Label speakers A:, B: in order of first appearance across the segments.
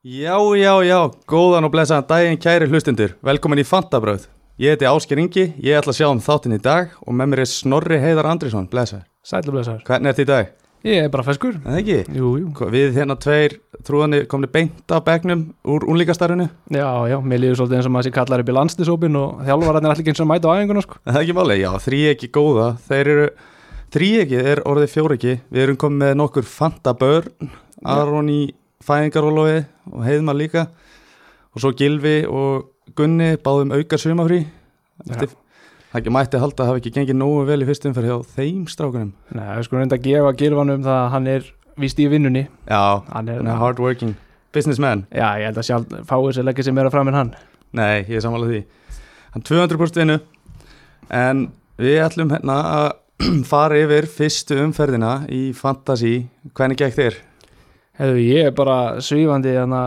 A: Já, já, já, góðan og blessaðan daginn kæri hlustundur, velkomin í Fantabröð Ég heiti Ásker Ingi, ég ætla að sjá um þáttinn í dag og með mér er Snorri Heiðar Andrisson, blessaður
B: Sætlu blessaður.
A: Hvernig ertu í dag?
B: Ég er bara feskur.
A: Er Það ekki?
B: Jú, jú.
A: Hva- Við hérna tveir trúðanir komni beint af begnum úr unlíkastarfinu
B: Já, já, mér líður svolítið eins og maður sé kallar upp í landslisópin og þjálfararnir er allir ekki eins og mæta á æfinguna, sko.
A: Er Það er ekki máli, já, þrý ekki góða, þeir eru, þrý ekki er orðið fjór ekki Við erum komið með nokkur Fantabörn, Aron í fæðingarólói og Heiðmar líka Og svo Gilvi og Gunni báðum auka sumafrí
B: Já.
A: Eftir, það ekki mætti halda að hafa ekki gengið nógu vel í fyrstum fyrir hjá þeim strákunum
B: Nei, við skulum reynda að gefa gilvanum það að hann er víst í vinnunni.
A: Já,
B: Hann er,
A: hann er hard working Businessman,
B: já, ég held að sjálf fáið sér leggja sér meira fram en hann.
A: nei, ég er samanlega því Hann 200% vinnu En við ætlum hérna að fara yfir fyrstu umferðina í Fantasí Hvernig gekk þér?
B: Hefðu, ég er bara svífandi hana,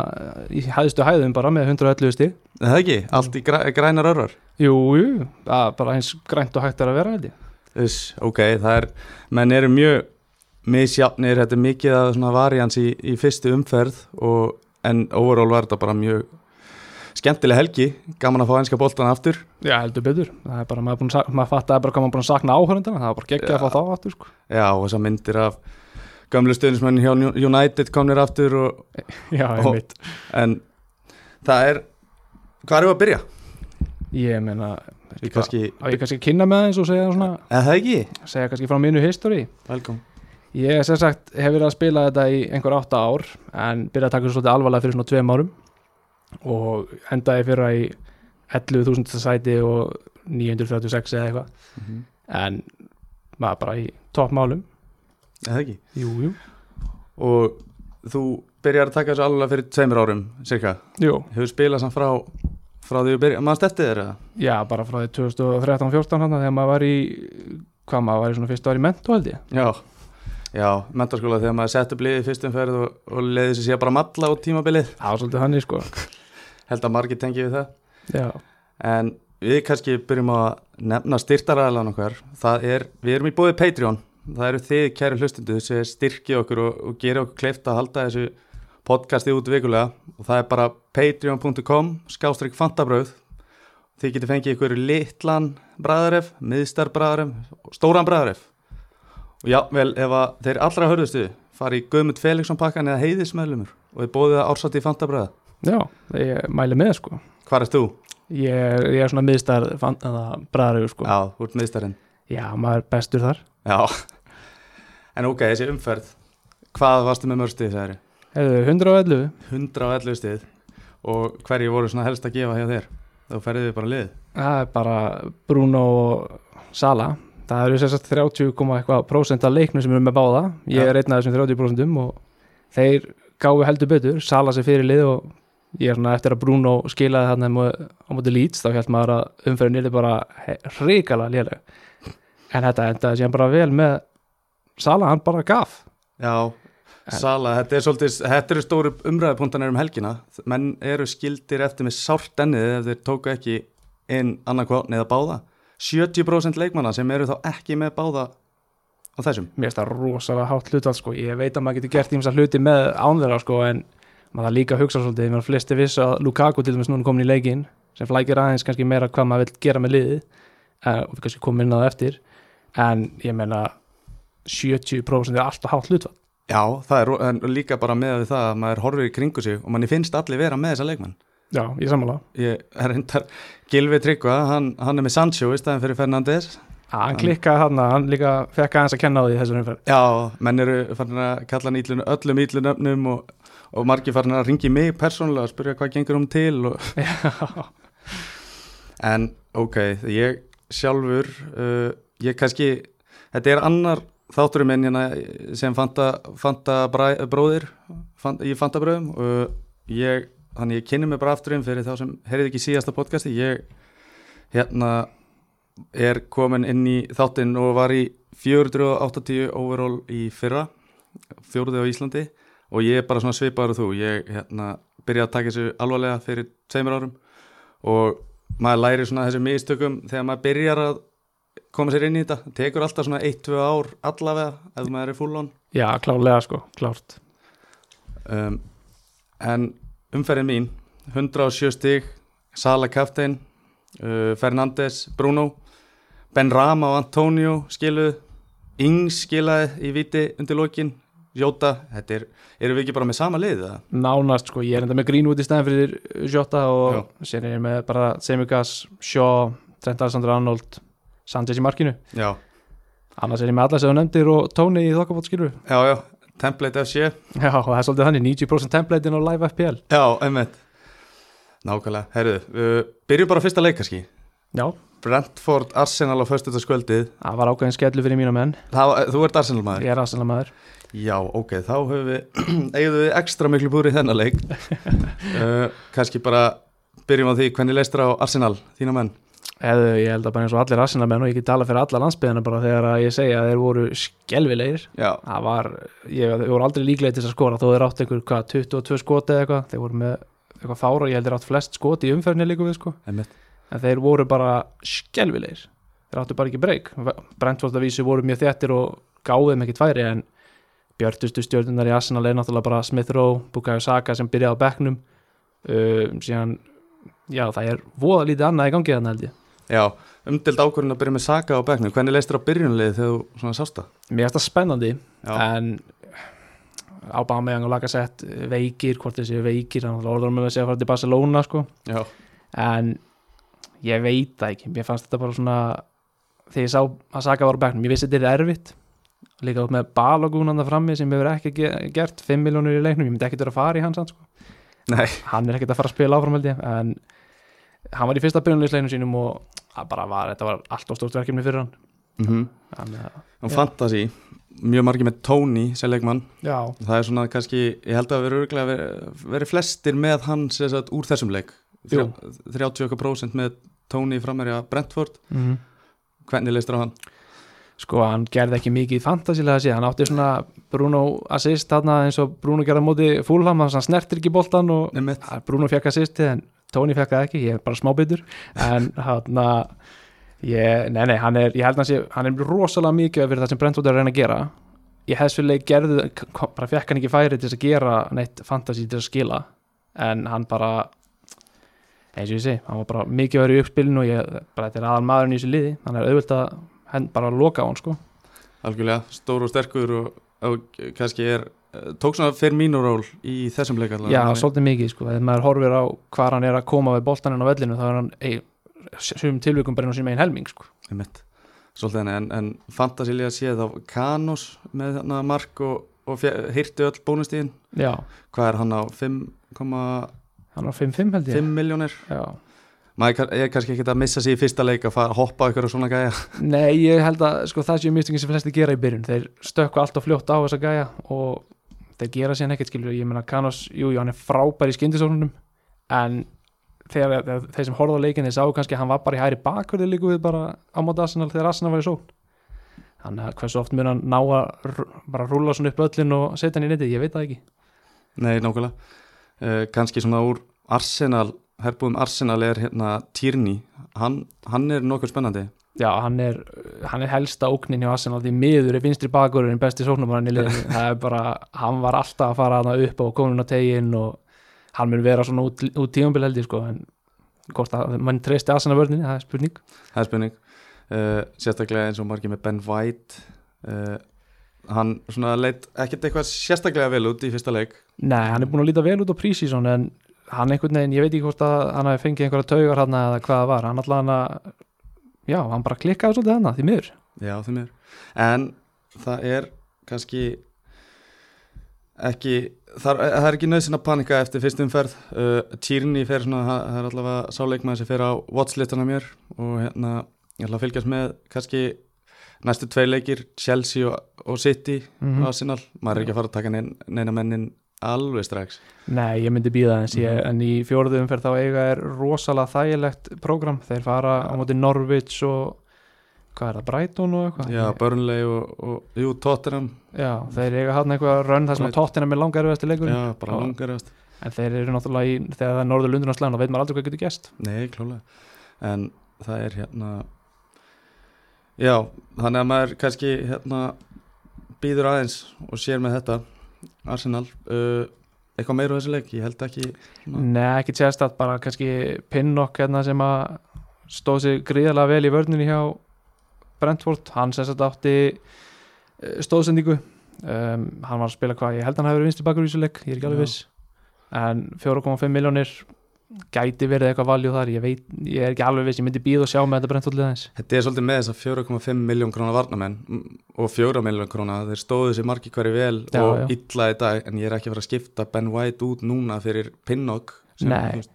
B: í hæðstu hæðum bara með 111 stíð.
A: Er Það ekki, allt í græ, grænar örvar
B: Jú, jú, það er bara eins grænt og hægt er að vera, held ég.
A: Þess, ok, það er menn eru mjög misjafnir, þetta er mikið að svona varians í, í fyrstu umferð og, en overall var þetta bara mjög skemmtileg helgi, gaman að fá einska boltan aftur
B: Já, heldur betur. Það er bara, maður, er búinn að sak- maður fattaði bara hvað maður er búinn að sakna áhörundina, það var bara geggja að fá þá aftur, sko.
A: Já, og þessar myndir af gamlu stöðnismennin hjá New- United komnir aftur og,
B: Já,
A: Og-
B: einmitt.
A: en það er hvað erum við að byrja?
B: Ég meina,
A: Við kannski,
B: á ég kannski að kynna með það eins og segja, svona,
A: eða það ekki?
B: segja kannski frá mínu history
A: Velkom
B: Ég sem sagt hef verið að spila þetta í einhver átta ár en byrjaði að taka þessu svolítið alvarlega fyrir svona tveim árum og endaði fyrra í 11.000 sæti og 936 eða eitthvað
A: Mhm.
B: en maður bara í toppmálum
A: Eða ekki?
B: Jú, jú
A: Og þú byrjar að taka þessu alveg fyrir tveimur árum, cirka
B: Jú,
A: Hefur spilað samt frá, frá því að byrja, maður stettið þér eða?
B: já, bara frá því 2013-14 hann þegar maður var í hvað maður var í svona fyrstu ári mentu held ég
A: Já, já, mentarskóla þegar maður sett upp liðið í fyrstum ferð og, og leiði sér síðan bara matla á tímabilið
B: Það var svolítið þannig sko
A: held að margir tengi við það
B: Já,
A: en við kannski byrjum að nefna styrtaræðlan okkar það er, við erum í bóði Patreon það eru þið kæri hlustundu sem styrki okkur og, og gera okkur kleift að halda þessu podcasti út vikulega og það er bara patreon.com skástrík fantabröð þið getur fengið ykkur litlan bræðaref, miðstar bræðaref stóran bræðaref og já, vel, ef að þeir allra hörðustu fari í Guðmund Felixson pakkan eða heiðismöðlumur og þið bóðið að ársati í fantabröða
B: já, ég mæli með sko
A: Hvar ert þú?
B: Ég er, ég er svona miðstæðar bræðarugur sko.
A: Já, þú ert miðstarinn
B: Já, maður er bestur þar.
A: Já, en ok, þessi umferð, hvað varstu með mörg stið, sagði þér?
B: Hefðu 111.
A: 111 stið og hverju voru svona helst að gefa hjá þér? Þá ferðið við bara lið.
B: Það er bara Bruno og Sala. Það eru sérstætt 30, komma eitthvað prósent af leiknum sem eru með báða. Ég er einn af þessum 30 prósentum og þeir gáfi heldur betur. Sala sér fyrir lið og ég er svona eftir að Bruno skilaði þarna mó- á móti Leeds þá held maður að umferðin er bara hrikala léleg. En þetta endaði síðan bara vel með Sala, hann bara gaf.
A: Já, Sala, þetta, er svolítið, þetta eru stóru umræðupunktanir um helgina. Menn eru skildir eftir með sárt ennið ef þeir tóku ekki inn annarkváðn eða báða. 70% leikmanna sem eru þá ekki með báða á þessum.
B: mér finnst það rosalega hátt hlutal sko. ég veit að maður getur gert ímsa hluti með ánverða sko, en maður það líka að hugsa svolítið mér flesti viss að Lukaku til dæmis núna komin í leikin sem flækir aðeins kannski meira hvað maður vil gera með liðið uh, og við kannski komum inn á það eftir en ég menna 70% er alltaf hátt hlutal
A: Já, það er ro- en líka bara með við það að maður horfir í kringu sig og manni finnst allir vera með þessa leikmann.
B: já, ég sammála
A: ég er reyndar Gilvi Tryggva, hann, hann er með Sancho í staðin fyrir Fernandes
B: að hann klikkaði hann hann líka fekk aðeins að kenna á því í þessum umferð
A: já, menn eru farin að kalla hann ítlun, öllum ítlunöfnum og, og margir farin að ringi mig persónulega og spyrja hvað gengur um til og... en ok, ég sjálfur uh, ég kannski þetta er annar þátturum minn hérna sem fanta, fanta bræ, bróðir fan, í fanta bröðum og ég, þannig ég kynni mig bara afturinn fyrir þá sem heyrið ekki í síðasta podcasti ég hérna er komin inn í þáttinn og var í 480 overall í fyrra fjóruðið á Íslandi og ég er bara svona svipaður og þú ég hérna, byrjaði að taka þessu alvarlega fyrir tveimur árum og maður læri svona þessu mistökum þegar maður byrjar að koma sér inn í þetta tekur alltaf svona 1-2 ár allavega ef maður er full on
B: já, klálega sko, klárt
A: um, en umferðin mín 107 stig, Sala Kaftin uh, Fernandes, Bruno Ben Rama og Antonio skiluð, Ings skilaði í viti undir lokin Jóta, þetta er, erum við ekki bara með sama lið það?
B: nánast sko, ég er enda með Greenwood í stæðan fyrir Jota og sér er ég með bara Semigas, Shaw, Trent Alexander-Arnold Sanchez í markinu
A: Já,
B: annars er ég með alla sem þú nefndir og Tony í þokkabótt skilur
A: já, já, template FC
B: já, og það er svolítið þannig, 90% templatein á live FPL
A: Já, einmitt Nákvæmlega, herruðu, uh, byrjum bara á fyrsta leik kannski
B: já,
A: Brentford Arsenal á föstudagskvöldið
B: það var ákveðin skellu fyrir mína menn
A: Það- Þú ert Arsenal maður?
B: ég er aðstæðan maður
A: Já, ok, þá höfum við eigðu við ekstra miklu búri í þennan leik uh, Kannski bara byrjum á því hvernig leist þér á Arsenal, þína menn
B: Eðu, ég held að bara eins og allir Arsenal menn og ég get tala fyrir alla landsbyðina bara þegar að ég segja að þeir voru skelvilegir
A: Já,
B: það var, ég, þeir voru aldrei líklegir til þess að skora þó þeir átt einhver, hvað, 22 skoti eða eitthvað þeir voru með eitthvað fára, ég held þeir átt flest skoti í umferðinni líka við sko
A: einmitt
B: en þeir voru bara skelvilegir þeir áttu bara ekki breyk Brentfordlavísu voru mjög þettir og gáðum ekki tværi en björtustu stjórnunar í Arsenal er náttúrulega bara Smith Rowe, Bukayo Saka sem byrjaði á bekknum um, síðan já það er voða lítið annað í gangi þannig held ég
A: Já, umdild ákvörðin að byrja með Saka á bekknum Hvernig leist þér á byrjunlegið þegar þú svona sást það?
B: mér er þetta spennandi
A: Já,
B: en Aubameyang og Lagasett veikir, hvort þeir séu veikir þannig að orður með að segja að fara til Barcelona sko.
A: já,
B: en ég veit það ekki, mér fannst þetta bara svona þegar ég sá að Saka var á bekknum ég vissi þetta er erfitt líka upp með Balogun hann það frammi sem hefur ekki ge- gert 5 miljónur í leiknum, ég myndi ekkert vera að fara í hans sko.
A: nei,
B: hann er ekkert að fara að spila áfram held ég en hann var í fyrsta byrjunleisleiknum sínum og það bara var, þetta var allt of stórt verkefni fyrir hann eh,
A: mhm mm
B: Þannig að, Já.
A: Fantasí, mjög margir með Tony sem leikmann
B: já,
A: Það er svona kannski, ég held að vera örgulega verið, verið flestir með hann sem sagt, úr þessum leik
B: Jú.
A: Þrjá- 30% með Tony framherja Brentford,
B: mhm
A: hvernig leistur á hann?
B: sko hann gerði ekki mikið fantasilega sér, hann átti svona Bruno assist þarna eins og Bruno gerði á móti fúlham, hann snertir ekki boltan og
A: Einmitt.
B: Ah, Bruno fekk assistið en Tony fekk það ekki, ég er bara smábyttur en hann ég, nei, nei, hann er, ég held að hann sé hann er rosalega mikið fyrir það sem Brentford er að reyna að gera ég hefði svolítið gerði kom- bara fekk hann ekki færi til þess að gera neitt fantasi til þess að skila en hann bara eins og ég segi, hann var bara mikið verið í uppspilinu og ég, bara þetta er aðal maðurinn í þessu liði hann er auðvitað að henn bara loka á hann sko
A: Algjörlega, stór og sterkur og, og kannski er, eh, tók svona fyrir mínu ról í þessum leik allavega.
B: Já, svolítið mikið sko, þegar maður horfir á hvað hann er að koma við boltaninn á vellinu þá er hann ei, sumum tilvikum bara inn á sín megin helming sko.
A: Einmitt. Svolítið hann, en, en fantasílega séð á Kanos með hana mark og, og hirti öll bónustíðin
B: Já,
A: Hvað er hann á 5,5
B: hann er á 5-5 held ég
A: miljónir?
B: Já.
A: Maður kann- er kannski ekkert að missa sig í fyrsta leik að fara að hoppa ykkur og svona gæja
B: Nei, ég held að sko, það séu mistöngin sem flesti gera í byrjun þeir stökku alltaf fljótt á þessa gæja og þeir gera sér nekkert skilur ég meina Kanos, jú, jú, hann er frábær í skyndisóknunum en þegar, þegar þeir sem horfðu á leikin þeir sáu kannski að hann var bara í hæri bakverði líku við bara á móti Arsenal þegar Arsenal var í sókn þannig að hversu oft mun hann ná að r- bara rúla svona upp öllin og setja hann í netið, ég veit það ekki
A: Nei, nákvæmlega. Uh, Kanski svona úr Arsenal, herbúðum Arsenal er hérna Tierney, hann, hann er nokkuð spennandi.
B: Já, hann er, hann er helsta óknin hjá Arsenal því miður er vinstri bakurinn besti sóknumann í liðinu, það er bara hann var alltaf að fara hana upp og komin á tegin og hann mun vera svona út, út tíumbil held ég sko en hvort að mann treysti Arsenal vörninni, það er spurning
A: Það er spenning. Uh, sérstaklega eins og margir með Ben White. Uh, hann svona leitt ekkert eitthvað sérstaklega vel út í fyrsta leik.
B: Nei, hann er búin að líta vel út á prísísón en hann einhvern veginn, ég veit ekki hvort að hann hafi fengið einhverja taugar hann eða hvað það var hann alltaf hann að, já, hann bara klikkaði svolítið hann því miður
A: Já, því mér. En það er kannski ekki, það, það er ekki nöðsinn að panika eftir fyrstum ferð. Uh, Tierney fer svona, það það er allavega sáleikmaður sem fer á watchlistana mér og hérna ég ætla að fylgjast með kannski næstu tvei leikir, Chelsea og, og City
B: mm
A: Arsenal. Maður er ekki að fara að taka nein, neina mennin alveg strax.
B: Nei, ég myndi býða eins, ég,
A: Mhm.
B: en í fjórðu umferð þá eiga er rosalega þægilegt prógram, þeir fara á móti Norwich og hvað er það, Brighton og eitthvað?
A: Já, Burnley og, og jú, Tottenham,
B: Já, þeir eiga hann eitthvað rönn þar sem að
A: Brighton.
B: tóttina með langar erfiðasti leikur,
A: já, bara
B: Já.
A: langarast.
B: en þeir eru náttúrulega í, þegar það er norður lundunarslagan, þá veit maður aldrei hvað getur gæst.
A: Nei, klálega En það er hérna Já, þannig að maður kannski hérna býður aðeins og sér með þetta Arsenal uh, eitthvað meira á þessu leik, ég held ekki Ná.
B: Nei, ekki sérstætt, bara kannski Pinnok hérna sem að stóð sér gríðarlega vel í vörninni hjá Brentford, hann sérstætt átti eh, stóðsendingu um, hann var að spila hvað, ég held hann hafi verið vinstri bakur í þessu leik, ég er ekki alveg
A: Já.
B: viss en 4,5 miljónir gæti verið eitthvað valjú þar, ég veit ég er ekki alveg viss, ég myndi býð og sjá með þetta Brentford liðaðins
A: Þetta er svolítið með þess að 4,5 miljón krónar varnamenn mm, og 4 miljón krónar, þeir stóðu sér margi hverju vel
B: Já,
A: og
B: já.
A: illa í dag en ég er ekki að fara að skipta Ben White út núna fyrir Pinnock sem,
B: Nei.
A: þú veist,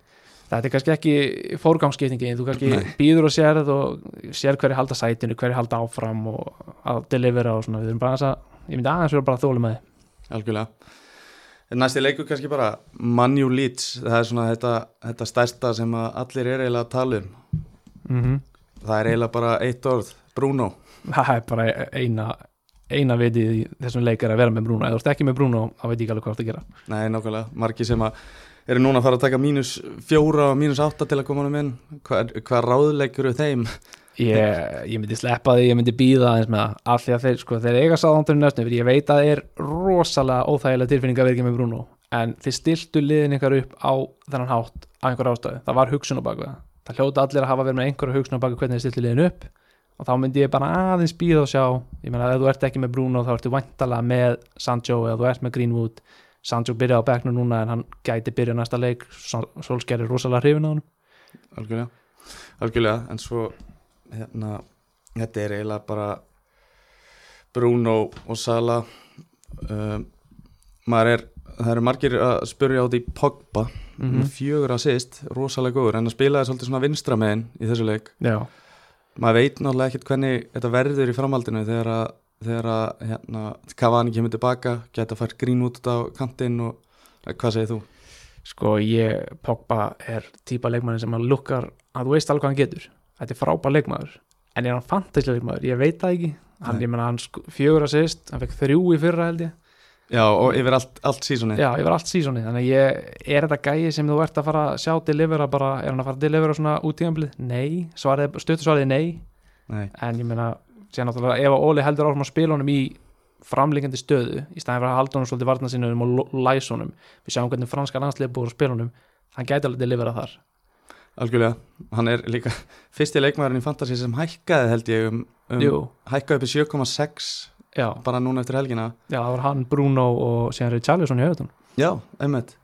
B: Þetta er kannski ekki fórgangsskiptingin, þú kannski
A: Nei.
B: býður og sér og sér hverju halda sætinu, hverju halda áfram og að delivera og svona, við erum bara aðeins að, ég myndi aðeins vera bara að þóla með þið.
A: algjörlega Næsti leikur kannski bara Manu Leeds, það er svona þetta, þetta stærsta sem að allir er eiginlega að tala um það er eiginlega bara eitt orð, Bruno
B: Það er bara eina, eina vitið í þessum leik er að vera með Bruno, ef þú ert ekki með Bruno, þá veit ég ekki alveg hvað þú ert að gera.
A: Nei, nákvæmlega, margi sem að eru núna að fara að taka mínus fjóra og mínus átta til að koma hann um inn hvað, hvað ráðleikur eru þeim
B: Ég, ég myndi sleppa því, ég myndi býða aðeins með það, allir að þeir, sko, þeir eiga sáðandurinn næstum, fyrir ég veit að það er rosalega óþægilega tilfinning að vera ekki með Bruno, en þið stiltu liðin ykkar upp á þennan hátt af einhver ástæðu, það var hugsun á baku það, það hljóta allir að hafa verið með einhverja hugsun á baku hvernig þið stiltu liðin upp og þá myndi ég bara aðeins býða og sjá, ég meina ef þú ert ekki með Bruno þá ertu vantala með Sancho eða þú ert með Greenwood, Sancho byrjaði á bekknu núna en hann gæti byrja næsta leik, Solskjær er rosalega hrifin á hann
A: Algjörlega, algjörlega, en svo hérna, þetta er eiginlega bara Bruno og Sala um, maður er það eru margir að spurja á því Pogba mm -hmm. fjögur að sýst, rosalega góður en að spila er svolítið svona vinstra megin í þessu leik
B: Já,
A: maður veit náttúrulega ekkert hvernig þetta verður í framhaldinu þegar að, þegar að hérna, Cavani kemur tilbaka geta fært grín út á kantinn og hvað segir þú?
B: sko ég, Pogba er típa leikmanni sem hann lukkar að þú veist alveg hvað hann getur þetta er frábær leikmaður en er hann fantasy leikmaður, ég veit það ekki hann,
A: Nei.
B: ég menna hann sk- fjögur að sýst, hann fekk þrjú í fyrra held ég
A: Já, og yfir allt, allt sísoni
B: já, ég var allt sísoni, þannig að ég er þetta gæi sem þú ert að fara að sjá delivera bara, er hann að fara að delivera svona út í amblið nei, svarið, stuttu svarið er nei
A: Nei,
B: en ég meina, sér náttúrulega ef að Óli heldur áfram að spila honum í framlíkandi stöðu, í staðin fyrir að halda honum svolítið varna sinum og lo- læsa honum við sjáum hvernig franska landsliði búið að spila honum hann gæti alveg delivera þar
A: Algjörlega, hann er líka fyrsti leikmaðurinn í Fantasí sem hækkaði held ég um, um
B: Jú,
A: hækkaði upp í 7,6
B: já,
A: bara núna eftir helgina
B: já, það var hann, Bruno og síðan Richarlison í höfðun
A: Já, einmitt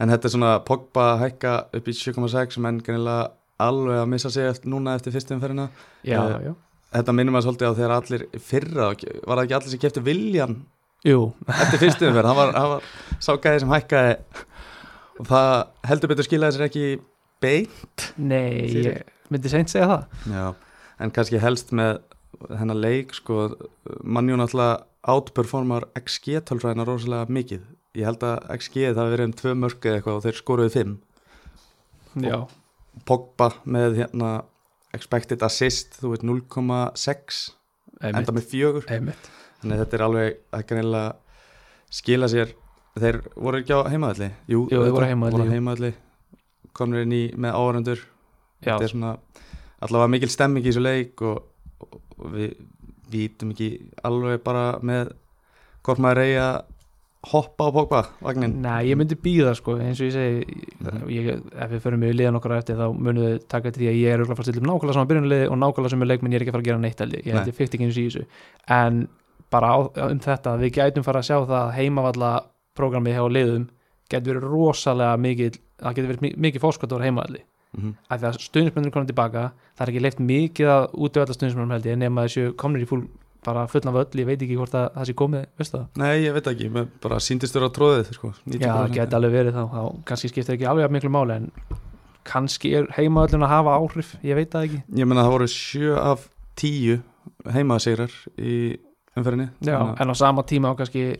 A: en þetta er svona Pogba að hækka upp í 7,6 menn greinilega alveg að missa sig eftir, núna eftir fyrstum ferina
B: Já,
A: Eh,
B: já,
A: þetta minnum maður svolítið á þegar allir í fyrra var það ekki allir sem kefti viljan
B: jú,
A: eftir fyrstum ferina, hann var, hann var sá gæði sem hækkaði og það heldur betur skilaði sér ekki bein
B: nei,
A: Fyrir.
B: ég myndi seint segja það
A: Já, en kannski helst með hennar leik sko, mannjú náttúrulega outperformar XG tölfræðina rosalega mikið ég held að XG það hafi verið um tvö mörg eða eitthvað og þeir skoruðu fimm
B: Já,
A: Pogba með hérna expected assist, þú veit 0,6 enda
B: einmitt,
A: með fjögur
B: einmitt
A: þannig að þetta er alveg að kannilega skila sér þeir voru ekki á heimaðalli Jú,
B: Jú, þeir voru á
A: auðvitað,
B: heimavelli,
A: voru
B: jú.
A: heimaðalli konur inn í með áhörundur
B: Já,
A: þetta er svona allavega mikil stemming í þessu leik og, og, og við vítum ekki alveg bara með hvort maður reyja hoppa á Pogba vagnin
B: nei, ég myndi býða sko, eins og ég segi
A: Mhm.
B: ég, ef við förum við liðan okkar á eftir þá munum við taka eftir því að ég er örugglega að fara að stilla um nákvæmlega saman byrjunliði og nákvæmlega sem er leikminn, ég er ekki að fara að gera neitt held ég, ég held
A: Nei.
B: ég fyrst ekki eins í þessu en bara á, um þetta, við gætum fara að sjá það að heimavalla programmið hjá liðum getur verið rosalega mikið það getur verið mi- mikið fórskotur heimavalli
A: Mhm.
B: af því að stuðnismennir komið tilbaka það er ekki leift mikið að útöfalla stuðnismennum held ég nema þessu komnir í fúl bara fullna völl, ég veit ekki hvort að það sé komið veistu það?
A: Nei, ég veit ekki, maður bara síndistur á tróðið sko,
B: Já, það
A: 90%.
B: geti alveg verið þá, þá kannski skiptir ekki alveg að miklu máli en kannski er heimavöllun að hafa áhrif ég veit það ekki,
A: Ég meina það voru 7 af 10 heimaðsigrar í umferðinni Þannig að-
B: en á sama tíma á kannski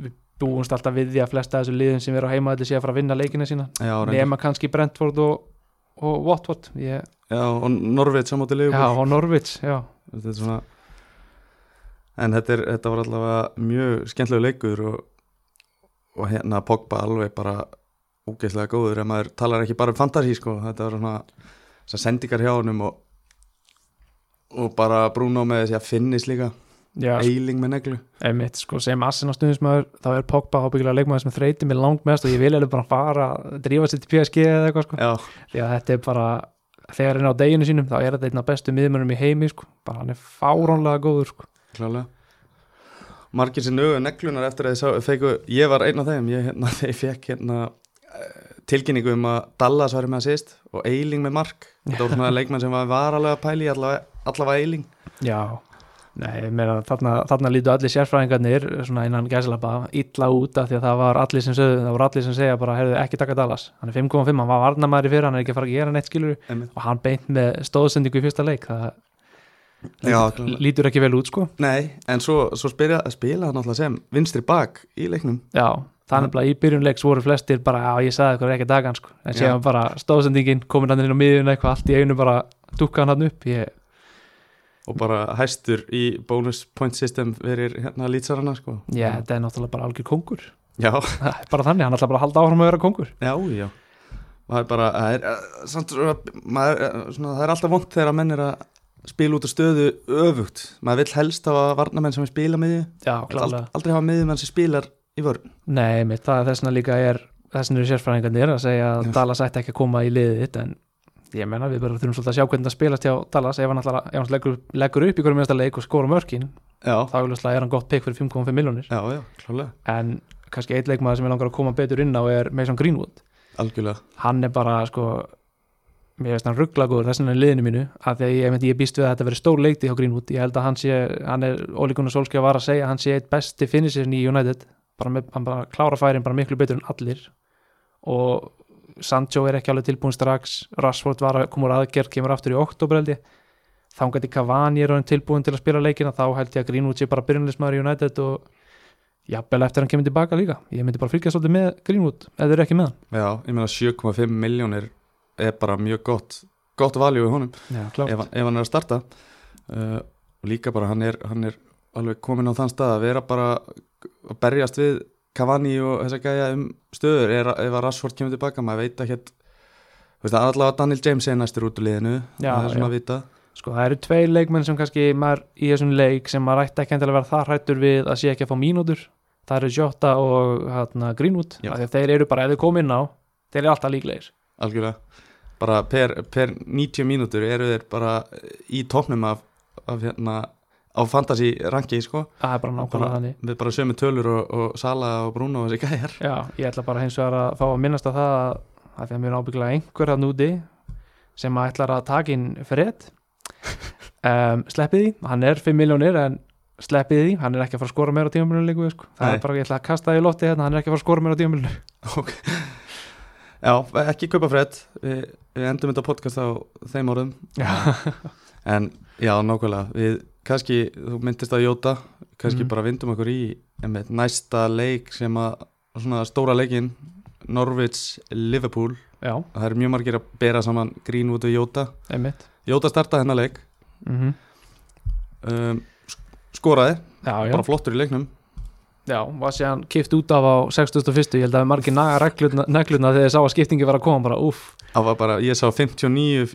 B: við búumst alltaf við því að flesta af þessu liðin sem eru á heimavalli sé að fara að vinna leikina sína
A: já, reyndar.
B: nema kannski Brentford og, og Watford ég,
A: já, og Norveit samátti
B: já,
A: leikur
B: og Norwich já.
A: þetta er svona en þetta, er, þetta var allavega mjög skemmtilegu leikur og, og hérna Pogba alveg bara ógeðslega góður en maður talar ekki bara um fantasi sko, þetta var svona þessar sendingar hjá honum og, og bara Bruno með þessi að finnis líka
B: já, sko.
A: Eiling með neglu
B: einmitt, sko, sem Arsenal stuðnismæður þá er Pogba ábyggilega leikmaður sem þreyti mér langmest og ég vil eða bara fara að drífa sér til PSG eða eitthvað sko.
A: Já,
B: því að þetta er bara þegar hann er á deginu sínum þá er þetta einn af bestu miðmönnum í heimi sko. bara hann er fáránlega góður sko.
A: klálega Margir sem nögu neglunar eftir að ég sá feiku, Ég var einn af þeim Ég, hérna, ég fekk hérna eh, tilkynningu um að Dallas var með assist og Eiling með mark Þetta voru svona leikmenn sem var varalega að pæla í allavega, allavega Eiling
B: já, nei, ég meina þarna, þarna lítu allir sérfræðingarnir svona innan gæslapa illa út af því að það var allir sem, sögðu, það voru allir sem segja bara heyrðu ekki taka Dallas, hann er 5.5, hann var varnamæri fyrir hann er ekki að fara að gera neitt skilur
A: Einmitt.
B: og hann beint með stóðsendingu í fyrsta leik það
A: Já,
B: lítur,
A: klálega.
B: lítur ekki vel út sko
A: Nei, en svo, svo spila, spila hann alltaf sem vinstri bak í leiknum
B: Já, það er nefnilega í byrjunleiks voru flestir bara, já ég sagði eitthvað ekki dagan sko. en
A: Já.
B: séðan bara stóðsendingin, komin hann inn á miðjun eitthvað, allt í einu bara dukka hann hann upp ég,
A: og bara hæstur í bonus point system verir hérna lýtsarana sko.
B: ég, þetta er náttúrulega bara algjör kongur
A: Já,
B: það er bara þannig, hann ætla bara að halda áfram að vera kongur
A: já, já maður er bara, það er, eh, samt, svona- maður, eh, svona, það er alltaf vond þegar að menn er að spila út af stöðu öfugt maður vill helst hafa varnamenn sem spila miðju
B: Já,
A: Vill
B: klálega,
A: ald- aldrei hafa miðjumenn sem spilar í vörn
B: nei mitt, það er þessna líka er, þessna eru sérfræðingarnir að segja að
A: Já.
B: Dallas ætti ekki að koma í liðið þitt en ég menna við bara þurfum svolítið að sjá hvernig það spilast hjá Dallas ef hann, ætlar, að- ef hann leggur, leggur upp í hverjum mjösta leik og skora mörkin,
A: Já,
B: þá augljóslega er hann gott pick fyrir 5,5 miljonir,
A: já, já, klálega
B: en kannski eitt leikmaður sem ég langar að koma betur inn á er Mason Greenwood
A: algjörlega,
B: hann er bara sko mér finnst hann rugglagur þess vegna í liðinu mínu af því að ég, ég, myndi- ég býst við að þetta verið stór leikti hjá Greenwood ég held að hann sé, hann er ólíkunar Solskja var að segja, að hann sé eitt besti finisherinn í United bara með, hann bara klára færin bara miklu betur en allir og Sancho er ekki alveg tilbúin strax Rashford var að koma úr aðgerð, kemur aftur í oktober held ég, þá gæti Cavani er orðinn tilbúin til að spila leikina, þá held ég að Greenwood sé bara byrjunleismæður í United og jafnvel eftir hann kemur tilbaka líka ég myndi bara fylgja svolítið með Greenwood, ef þeir eru ekki með
A: já, ég meina 7,5 miljónir er bara mjög gott gott valjú í honum
B: hann Já, klárt.
A: ef, hann- ef hann er að starta uh, og líka bara hann er, hann er alveg komin á þann stað að vera bara að berjast við Cavani og þess að gæja um stöður er, ef að Rashford kemur tilbaka, maður veit ekki þú veist að allavega Daniel James er næstur út úr liðinu,
B: Já,
A: það er svona
B: já.
A: að vita
B: Sko það eru tvei leikmenn sem kannski maður í þessum leik sem maður ætti ekki endilega að vera það hrættur við að sé ekki að fá mínútur það eru Jota og hana, Greenwood
A: Já.
B: af því að þeir eru bara, ef þeir koma inn á þeir eru alltaf líklegir
A: algjörlega, bara per, per 90 mínútur eru þeir bara í tóknum af, af hérna á fantasy rangi sko
B: það er bara nákvæmlega
A: Bara-
B: þannig
A: við bara sömu tölur og, og Sala og Bruno og þessi gæjar
B: Já, ég ætla bara hins vegar að fá að minnast að það að- af því að mér er ábygglega einhver að núti sem að ætlar að taka inn fred um, sleppið því, hann er 5 miljónir en sleppið því, hann er ekki að fara að skora meira á tímamilinu líku, sko. það
A: Nei.
B: er bara, ég ætla að kasta það í lotti hérna, hann er ekki að fara að skora meira á tímamilinu
A: Ok. Já, ekki kaupa fred við, við endum þetta podcast á þeim orðum en já, nákvæmlega við kannski, þú myndist að jóta kannski
B: Mhm.
A: bara vindum okkur í einmitt, næsta leik sem að svona stóra leikin, Norwich Liverpool,
B: Já,
A: það eru mjög margir að bera saman Greenwood og Jóta
B: einmitt
A: Jóta startaði hennar leik
B: mm
A: um, sk- skoraði,
B: Já, já,
A: bara flottur í leiknum
B: já, var síðan kipt út af á 61. Ég held að við margir naga regluna, negluna þegar þið sá að skiptingi var að koma bara, úff,
A: það var bara, ég sá 59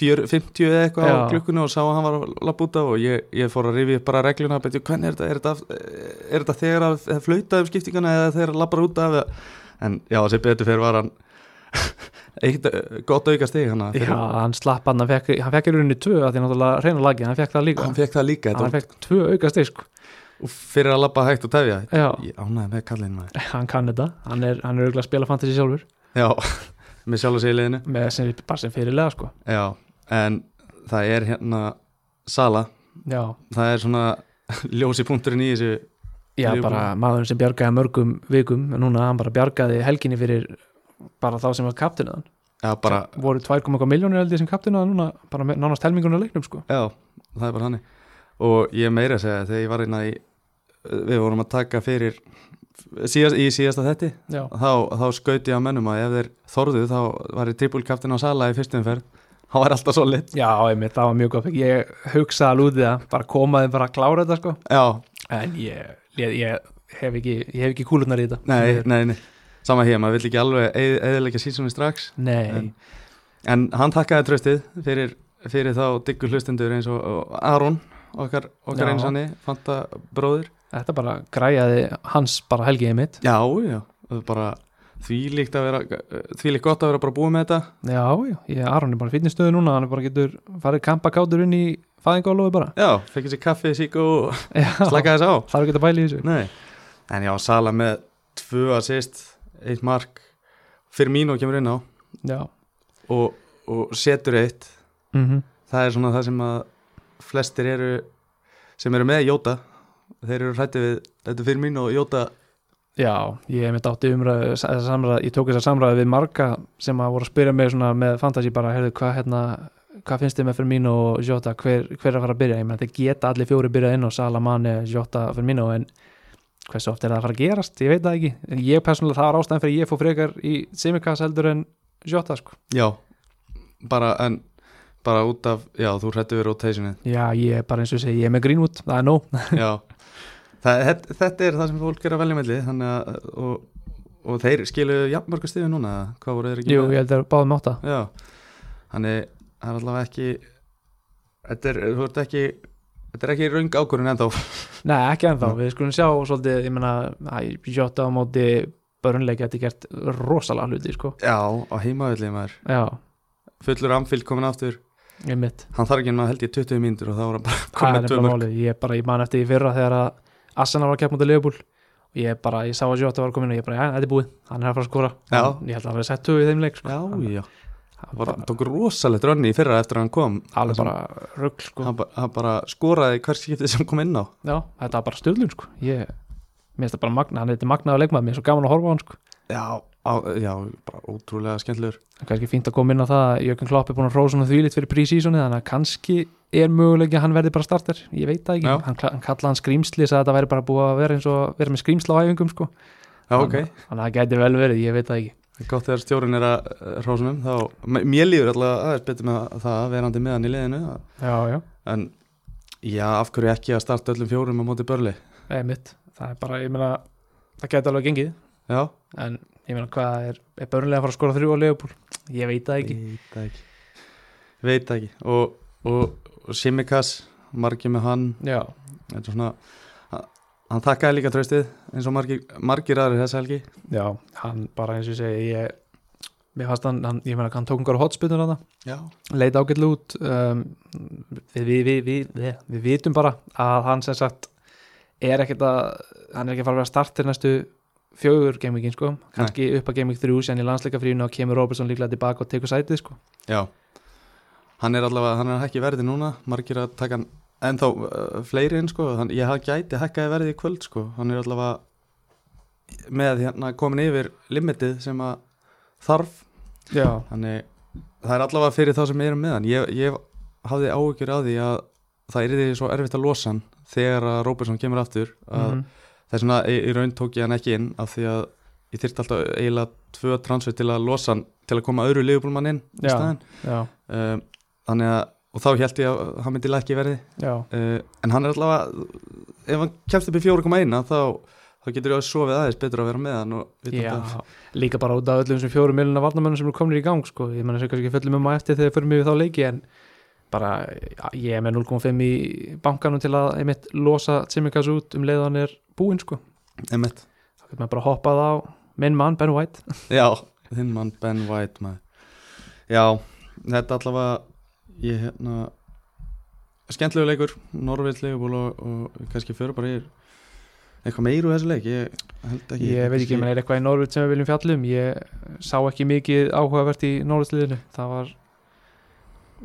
A: fjör, 50 eða eitthvað á
B: Já.
A: klukkunu og sá að hann var að lappa út af og ég, ég fór að rifja upp bara regluna beti, hvernig er þetta, er þetta, er þetta þegar að að flauta um skiptingana eða þegar að lappa út af eða- en já, sem betur fyrir var hann eitt eh, gott auka stig hann að-
B: já, hann slapp hann, hann fekk, hann fekk í rauninni tvö að því náttúrulega reyna lagið, hann fekk það líka,
A: hann fekk það líka
B: hann
A: þetta,
B: fekk tvö auka stið, sko,
A: var- fyrir að lappa hægt og tefja
B: já,
A: ég ánæði með kallinn maður
B: hann kann þetta, hann er, hann er auðvitað að spila fantasy sjálfur,
A: já, með sjálf að segja leiðinu
B: með sem, bara sem fyrirlega, sko,
A: já, en það er hérna Sala,
B: já,
A: það er svona ljósi punkturinn í þessu
B: já,
A: Liverpool.
B: bara maðurinn sem bjargaði mörgum vikum, en núna hann bara bjargaði helginni fyrir bara þá sem var kaptunaðan,
A: já, bara
B: voru 2,1 miljónir held ég sem kaptunaðan núna, bara með- nánast helmingurinn að leiknum, sko,
A: Já, það er bara hannig og ég meira að segja þegar ég var inn í við vorum að taka fyrir síðast, í síðasta þetti
B: já,
A: þá, þá skauti ég á mönnum að ef þeir þorðu þá var ég trippulkaftin á sala í fyrstum ferð hann var alltaf svo lit
B: Já, einmitt, það var mjög gott Ég hugsaði alveg út í það, bara komaði bara að klára þetta sko
A: Já,
B: En ég, ég, ég hef ekki, ég hef ekki kúlunar í þetta
A: nei, nei, nei sama hér, maður vill ekki alveg eðilega sísunni strax
B: Nei,
A: En- en hann takkaði tröstið fyrir, fyrir þá diggu hlustendur eins og og Aron okkar, okkar
B: Já.
A: einsanni, Fanta bróðir
B: Þetta bara græjaði hans bara helgiði mitt
A: Já, já, það er bara þvílíkt að vera, þvílíkt gott að vera bara búið með þetta
B: Já, já, ég, Aron er bara fyrir stöðu núna hann er bara getur farið kampakátur inn í fæðingálofi bara
A: Já, fekk sér kaffið sík og
B: Slaka
A: slaka þess á
B: Þarf ekki að bæla í þessu
A: Nei, en já, Sala með tvö assist, eitt mark fyrir mínu kemur inn á
B: Já
A: og, og setur eitt
B: mm
A: það er svona það sem að flestir eru sem eru með Jóta þeir eru hrætti við þetta fyrir mínu og Jóta
B: Já, ég hef mitt átti umræðu sa- þessa samræðu, ég tók þess að samræðu við marga sem að voru að spyrja mig svona með fantasy bara, heyrðu, hvað hérna hvað finnst þið með fyrir mín og Jota hver, hver er að fara að byrja, ég menn þetta geta allir fjóri byrjað inn og Sala, Mane, Jota fyrir mín en hversu oft er það að fara að gerast ég veit það ekki, en ég persónulega það var ástæðan fyrir að ég fór frekar í semikass heldur en Jota sko,
A: Já, bara en bara út af, já, þú hrætti við rotationið
B: já ég er bara eins og ég segi, ég er með Greenwood, það er nóg
A: Já, það, þetta, þetta er það sem fólk er að velja melli þannig að, og, og þeir skilu jafnmörgu stiðu núna, eða hvað voru þeir ekki
B: Jú,
A: með?
B: ég held að báðum átta
A: Já, þannig það er allavega ekki þetta er, þú ert ekki þetta er ekki raung ákvörðin ennþá
B: Nei, ekki ennþá, við skulum sjá svolítið, ég meina, æ, Jota á móti börnleik geti gert rosalega hluti, sko.
A: Já, á heimavelli maður
B: Já,
A: fullur amfylg komin aftur
B: ég mitt.
A: hann þarf ekki en maður held ég 20 mínútur og þá er hann bara
B: Það er
A: komin tvö
B: nefnilega
A: mörg
B: málið, ég bara, ég man eftir í fyrra þegar að Assana var að keppa mútið Leopold og ég bara, ég sá að Jota var komin og ég bara, já, þetta er búið, hann er að fara að skora.
A: Já.
B: Hann- Ég held að hann verið sett tögu í þeim leik, sko.
A: Já, já,
B: Hann
A: hann var,
B: bara,
A: tók rosalegt rönni í fyrra eftir að hann kom
B: alveg bara rugg, sko.
A: hann, ba- hann bara skoraði hver skiptið sem kom inn á
B: Já, þetta er bara stjórnlun, sko. Ég, mér finnst það bara magna, hann er þetta magnaður leikmaður, mér er svo gaman að horfa á hann, sko.
A: Já, á, já bara ótrúlega skemmtilegur
B: Það er kannski fínt að koma inn á það að Jökun Klopp er búin að hrósa hann þvílitt fyrir prísísoni þannig að kannski er möguleiki að hann verði bara starter ég veit það ekki,
A: Já.
B: hann, kla- hann kallaði hann skrýmsli sagði að þetta væri bara búið að vera eins og vera með skrýmsla á æfingum sko.
A: Já, ok,
B: þannig að það gæti vel verið, ég veit það ekki
A: gott þegar stjórinn er að hrósunum þá, m- mér líður alltaf aðeins betur með það verandi með hann í liðinu að
B: Já, já,
A: en já, af hverju ekki að starta öllum fjórum á móti börli
B: eða mitt það er bara, ég meina, það gæti alveg gengið
A: já,
B: en ég meina, hvað er, er börnlega að fara að skora þrjú á Leopold? Ég veit það ekki
A: veit það ekki veit það ekki og, og, og Simikas, margir með hann
B: Já,
A: þetta er svona hann- hann þakkaði líka tröstið eins og margir, margir aðrir þessa helgi
B: já, hann bara eins og ég segi ég, mér fannst hann, hann, ég meina, hann tók einhverja hotspilnur að
A: já,
B: leit ágætlega út um, við, við, við, við, við, við vitum bara að hann sem sagt er ekkert að, hann er ekki að fara að vera startir næstu fjögur gamingin sko kannski upp að gaming 3 sem í landsleika fríinu og kemur Robertson líklega tilbaka og tekur sætið sko
A: já hann er allavega, hann er ekki verði núna margir að taka hann ennþá uh, fleiri inn sko, hann, ég haf gæti hækkaði verði í kvöld sko, hann er allavega með hérna komin yfir limitið sem að þarf
B: Já,
A: Þannig, það er allavega fyrir þá sem erum með hann Ég, ég hafði áhyggjur af því að það er því svo erfitt að losa hann þegar að Róberson kemur aftur að
B: mhm.
A: það er svona, í, í raun tók ég hann ekki inn af því að ég þyrfti alltaf eiginlega tvö transfer til að losa hann til að koma öðru liðbúlmann inn í
B: Já.
A: staðinn
B: já,
A: um, þannig að, og þá held ég að hann myndi lækki verði
B: já
A: uh, en hann er allavega ef hann kemst upp í 4,1 þá, þá getur ég að sofið aðeins betur að vera með hann og vita um
B: Já,
A: þetta.
B: líka bara út af öllum sem fjórum miljonar varnamönnum sem eru komnir í gang sko. ég menn að kannski fjöllum um að eftir þegar fyrir mig við þá leiki en bara ja, ég er með 0,5 í bankanum til að einmitt losa Tsimikas út um leiðan er búinn sko.
A: Einmitt.
B: þá getur maður bara hoppað á minn mann Ben White
A: Já, þinn mann Ben White maður. Já, þetta allavega ég hérna skemmtilegu leikur, Norvild leikubúl og, og kannski fyrir bara ég eitthvað meiru þessu leik, ég held ekki
B: ég veit ekki, menn er eitthvað í Norrut sem við viljum fjallum ég sá ekki mikið áhugavert í Norrutliðinu, það var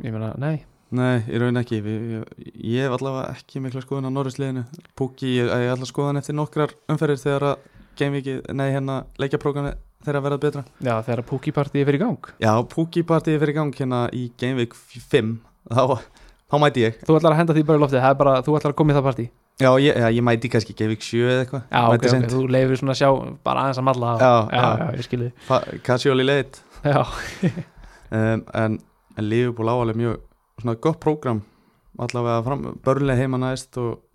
B: ég meina, nei
A: Nei, ég raun ekki, við, ég, ég hef allavega ekki mikla skoðun á Norvild liðinu Pukki, ég, ég ætla að skoða hann eftir nokkrar umferðir þegar að geimvikið, nei hérna leikjaprógrami þeirra verða betra
B: já, þegar Pukipartið er fyrir gang
A: Já, Pukki partíði fyrir gang hérna í geimvik 5 þá, þá mæti ég
B: þú ætlar að henda því bara í loftið, það er bara, þú ætlar að koma í það partí já,
A: Já, ég, já, ég mæti kannski Gevík 7 eða eitthvað
B: ok,
A: Mæti
B: ok,
A: seint.
B: þú leifir svona að sjá bara aðeins að malla á-
A: Já,
B: já,
A: já.
B: já, ég skilði
A: Fa- Casually late
B: já,
A: um, En, en Liverpool áalega mjög Svona gott prógram Allavega fram, börnlega heima næst og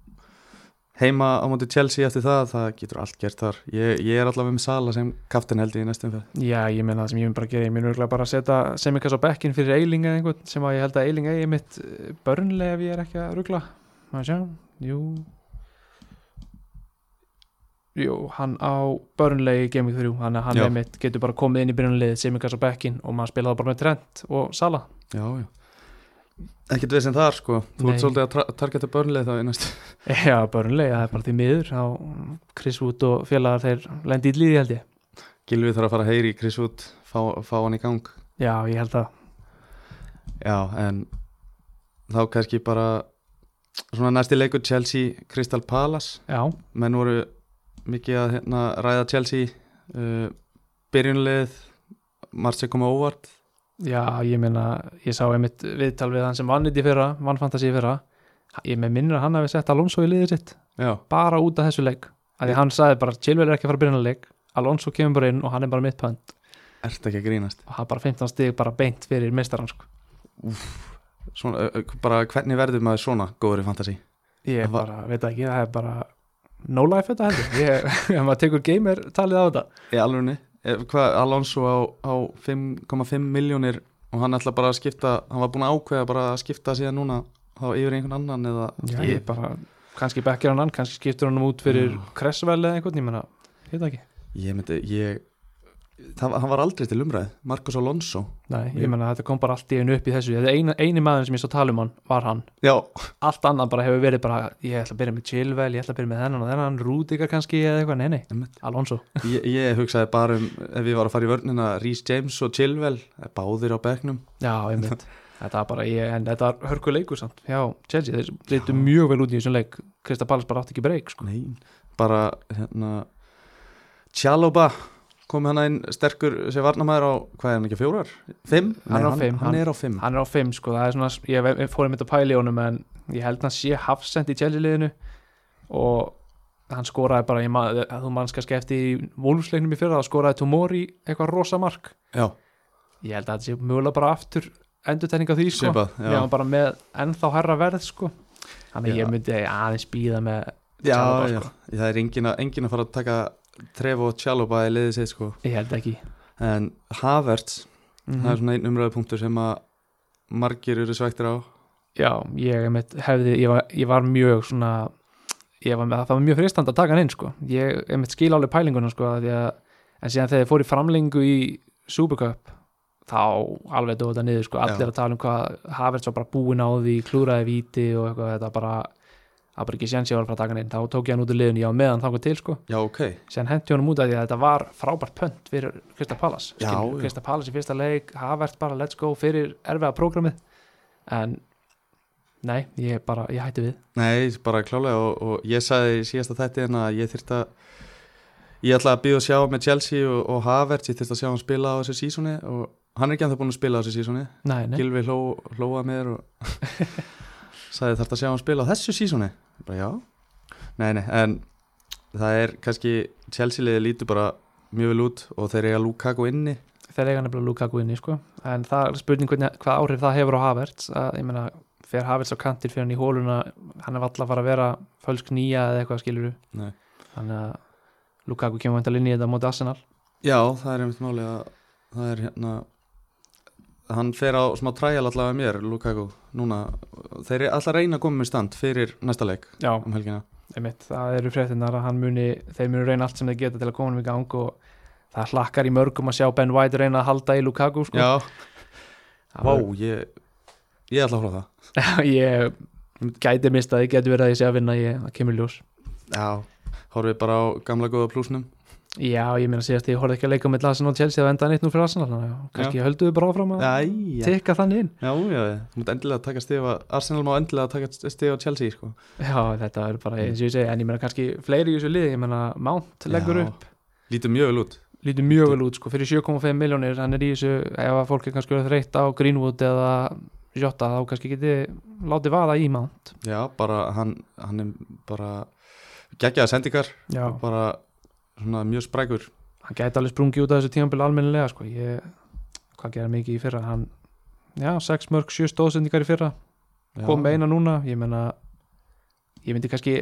A: heima á móti Chelsea eftir það það getur allt gert þar ég, ég er allavega með Sala sem kaftin held ég í næstum fyrir
B: já, ég meina það sem ég mun bara að gera ég mun örgulega bara að setja eh, Semikas á bekkin fyrir Eiling eða einhvern sem að ég held að Eiling eigi mitt börnlega ef ég er ekki að rugla að sjá jú jú, hann á Burnley í Game Week 3, hann, hann
A: Já.
B: einmitt getur bara komið inn í byrjunliðið, Simikars á bekkin og maður spila það bara með Trent og Sala
A: já, já ekkert við sem þar sko þú
B: Nei.
A: ert svolítið að tra- targeta börnlega þá í næstu
B: já, Burnley, það er bara því miður á Chris Wood og félagar þeir lendi í líði held ég,
A: Gilvi þarf að fara að heyri í Chris Wood fá, fá hann í gang
B: já, ég held að
A: já, en þá kannski bara svona næsti leikur Chelsea Crystal Palace
B: já,
A: menn voru mikið að hérna, ræða Chelsea uh, byrjunlið margt sem koma óvart
B: Já, ég meina, ég sá einmitt viðtal við hann sem vann þetta í fyrra, vann fantasi í fyrra ég með minnir að hann hafi sett Alonso í liðið sitt,
A: já,
B: bara út af þessu leik að því hann sagði bara, Chilwell er ekki að fara að byrja hann leik Alonso kemur bara inn og hann er bara mitt pönd
A: ert ekki að grínast
B: og hann bara 15 stig bara beint fyrir meistarann sko.
A: svona, uh, uh, bara hvernig verður maður svona góður í fantasi
B: ég
A: Það var-
B: bara, veit það ekki, það er bara no life þetta heldur, ég, ef maður tekur gamer talið á þetta,
A: í alvegni, Eh, hvað Alonso á, á 5,5 miljónir og hann ætla bara að skipta, hann var búin að ákveða bara að skipta síðan núna þá yfir í einhvern annan eða
B: já, ég bara kannski bekkir hann hann, kannski skiptur hann út fyrir Cresswell eða einhvern, ég meina, veit það ekki
A: Ég myndi, ég það, var- hann var aldrei til umræð, Marcos Alonso
B: Nei, ég
A: Ég-
B: meina þetta kom bara allt í einu upp í þessu Þetta eina, eini maður sem ég svo tala um hann var hann
A: Já,
B: Allt annað bara hefur verið bara Ég ætla að byrja með Chilwell, ég ætla að byrja með þennan og þennan Rúdikar kannski eða eitthvað, nei nei
A: Einmitt.
B: Alonso,
A: ég, ég hugsaði bara um ef ég var að fara í vörnina, Rhys James og Chilwell eh, báðir á bekknum
B: já, ég mynd Þetta var bara, ég, en þetta var hörku leikur samt Já, Chelsea, þeir litu mjög vel út í þessum leik Krista Pallas bara átti ekki breyk sko.
A: Nei, bara hérna Tjaloba kom hann inn sterkur sem varnamæður á, hvað er hann ekki, fjórar? Fimm?
B: Hann er á
A: Nei,
B: fimm,
A: Hann,
B: hann-
A: er á fimm
B: Hann er á 5 sko, það er svona Ég, ég fór einmitt að pæla í honum en ég held hann sé hafsend í Chelsea liðinu og hann skoraði bara, ég, man- þú manns kannski eftir í Wolfsleiknum í fyrra, þá skoraði Tomori eitthvað rosa mark
A: Já,
B: ég held að þetta sé mögulega bara aftur endurtegning á því sko
A: svipað
B: ég var bara með ennþá herra verð sko þannig að
A: Já.
B: ég myndi aðeins býða með
A: Já,
B: Chalobah,
A: já,
B: sko.
A: það er engin að, engin að fara að taka Trevo og Tjaloba í liðið sér sko
B: ég held ekki
A: en Havertz, það er
B: Mhm.
A: svona einn umræðupunktur sem að margir eru svektir á
B: já, ég, einmitt hefði, ég, var, ég var mjög svona ég var með það var mjög fristand að taka hann inn sko ég einmitt skil alveg pælinguna sko af því að, en síðan þegar ég fór í framlengu í Supercup þá alveg dóða þetta niður sko allir
A: Já.
B: að tala um hvað Havertz var bara búinn á því klúraði víti og eitthvað þetta bara það var bara ekki séns ég var að fara að taka hann inn þá tók ég hann út í liðun, ég var með hann þangað til sko
A: Já, ok,
B: síðan hendi honum út af því að þetta var frábært pönt fyrir Krista Pallas
A: Já, já.
B: Krista Pallas í fyrsta leik, Havert bara let's go fyrir erfiða prógramið en nei, ég bara, ég hætti við
A: nei, bara klálega og, og ég sagði í síðasta þætti en að ég þyrft að ég ætla að býða að sjá með Chelsea og, og Havertz, ég þyrft að sjá hann spila á þessu sísoni og hann er ekki anþá búin að spila á þessu sísoni
B: nei, nei,
A: Gilvi hló, hlóa mér og sagði þarf að sjá hann spila á þessu sísoni bara já nei, nei, en það er kannski Chelsea liðið lítur bara mjög vel út og þeir eiga Lukaku inni
B: þeir eiga nefnilega Lukaku inni sko. en það er spurning hvernig, hvað áhrif það hefur á Havert að ég meina, fer Havert á kantir fyrir hann í hóluna, hann er valla að fara að vera fölsk nýja eða eitthvað skilur
A: nei.
B: þannig að Lukaku kemur væntanlega inn í þetta móti Arsenal
A: já, það er einmitt máli að það er hérna hann fer á smá træjal allavega mér Lukaku, núna þeir eru alltaf að reyna að koma með stand fyrir næsta leik
B: já,
A: um helgina
B: Einmitt, það eru fréttinnar að hann muni þeir muni reyna allt sem þeir geta til að koma hann í gang og það hlakkar í mörgum að sjá Ben White reyna að halda í Lukaku sko.
A: já,
B: Það
A: vá, ég ég ætla að hóla það
B: var- ég gæti mistaði, gæti verið að ég sé að vinna ég, það kemur í ljós
A: já, horfið bara á gamla góða plúsnum
B: já, ég meina síðast ég horfði ekki að leika með Larsen og Chelsea það endaði neitt nú fyrir Arsenal þannig að kannski höldu við bara áfram að
A: Æja
B: tekka þannig inn
A: Já, já, já, þú mútt endilega taka stíð á Arsenal má endilega taka stíð á Chelsea sko.
B: já, þetta er bara eins og ég segi en ég meina kannski fleiri í þessu liði, ég meina Mount leggur
A: Já.
B: upp
A: Lítur mjög vel út
B: lítur mjög vel út sko, fyrir 7,5 miljónir hann er í þessu, ef að fólk er kannski verið þreytt á Greenwood eða Jota þá kannski geti látið vaða í Mount
A: Já, bara hann, hann er bara geggjaða sendingar
B: já,
A: og bara svona mjög sprækur
B: hann gæti alveg sprungið út af þessu tímanbili almennilega sko, ég, hvað gera mikið í fyrra hann, já, 6 mörg 7 stóðsendingar í fyrra,
A: Já.
B: kom með eina núna ég menna, ég myndi kannski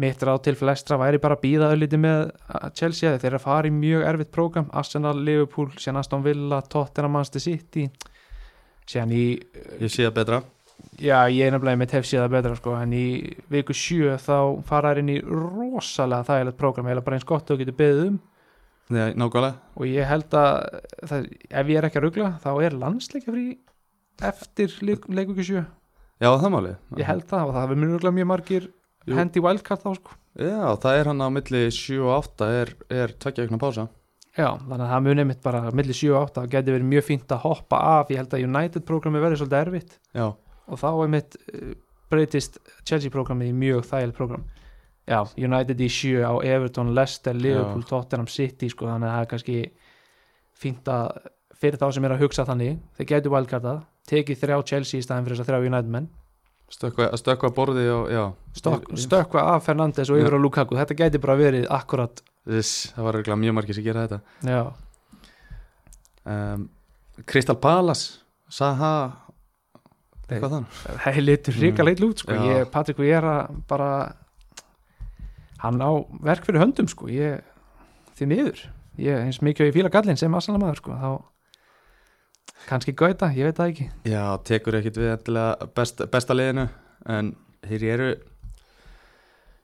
B: mitt ráð til flestra væri bara að býða ölliti með að Chelsea þegar þeir eru að fara í mjög erfitt prógram Arsenal, Liverpool, síðan Aston Villa, Tottenham, Manchester City síðan í
A: Ég sé það betra
B: Já, ég er nefnilega mitt hef séð það betra sko, en í viku sjö þá fara þær inn í rosalega þægilegt prógram, heila bara eins gott og þú getur beðið um
A: Nei, nákvæmlega
B: og ég held að það, ef ég er ekki að rugla, þá er landsleika frí eftir leik, leikvíku sjö
A: Já, það máli
B: ég held það og það er mjög rugla mjög margir
A: Jú.
B: hendi wildcard þá sko
A: Já, það er hann á milli 7 og 8 er, er tvekja ykna pása
B: Já, þannig að það muni mitt bara millir 7 og 8 og geti verið mjög fínt að hoppa af ég held að United programmi verði svolítið erfitt
A: Já,
B: og þá er mitt breytist Chelsea programmið í mjög þægileg program Já, United í 7 á Everton, Leicester, Liverpool, Tottenham City sko, þannig að það er kannski fínt að fyrir þá sem er að hugsa þannig þeir getur wildcardað, tekið þrjá Chelsea í staðin fyrir þess að þrjá United menn
A: stökkva, að stökkva borði og já
B: Stokk- stökkva af Fernandes og yfir á Lukaku þetta getur bara verið akkurat
A: Þess, það var eiginlega mjög margir sem gera þetta
B: Já,
A: um, Crystal Palace Saha Eitthvað þann
B: það er litur ríka leitt lút sko.
A: Mm. Já.
B: ég, Patrik Vera bara hann á verk fyrir höndum sko. ég, því miður ég eins mikið og ég fíla gallin sem aðsalamaður sko. þá kannski gauta, ég veit það ekki
A: Já, tekur ekkit við endilega best, besta liðinu En þeir eru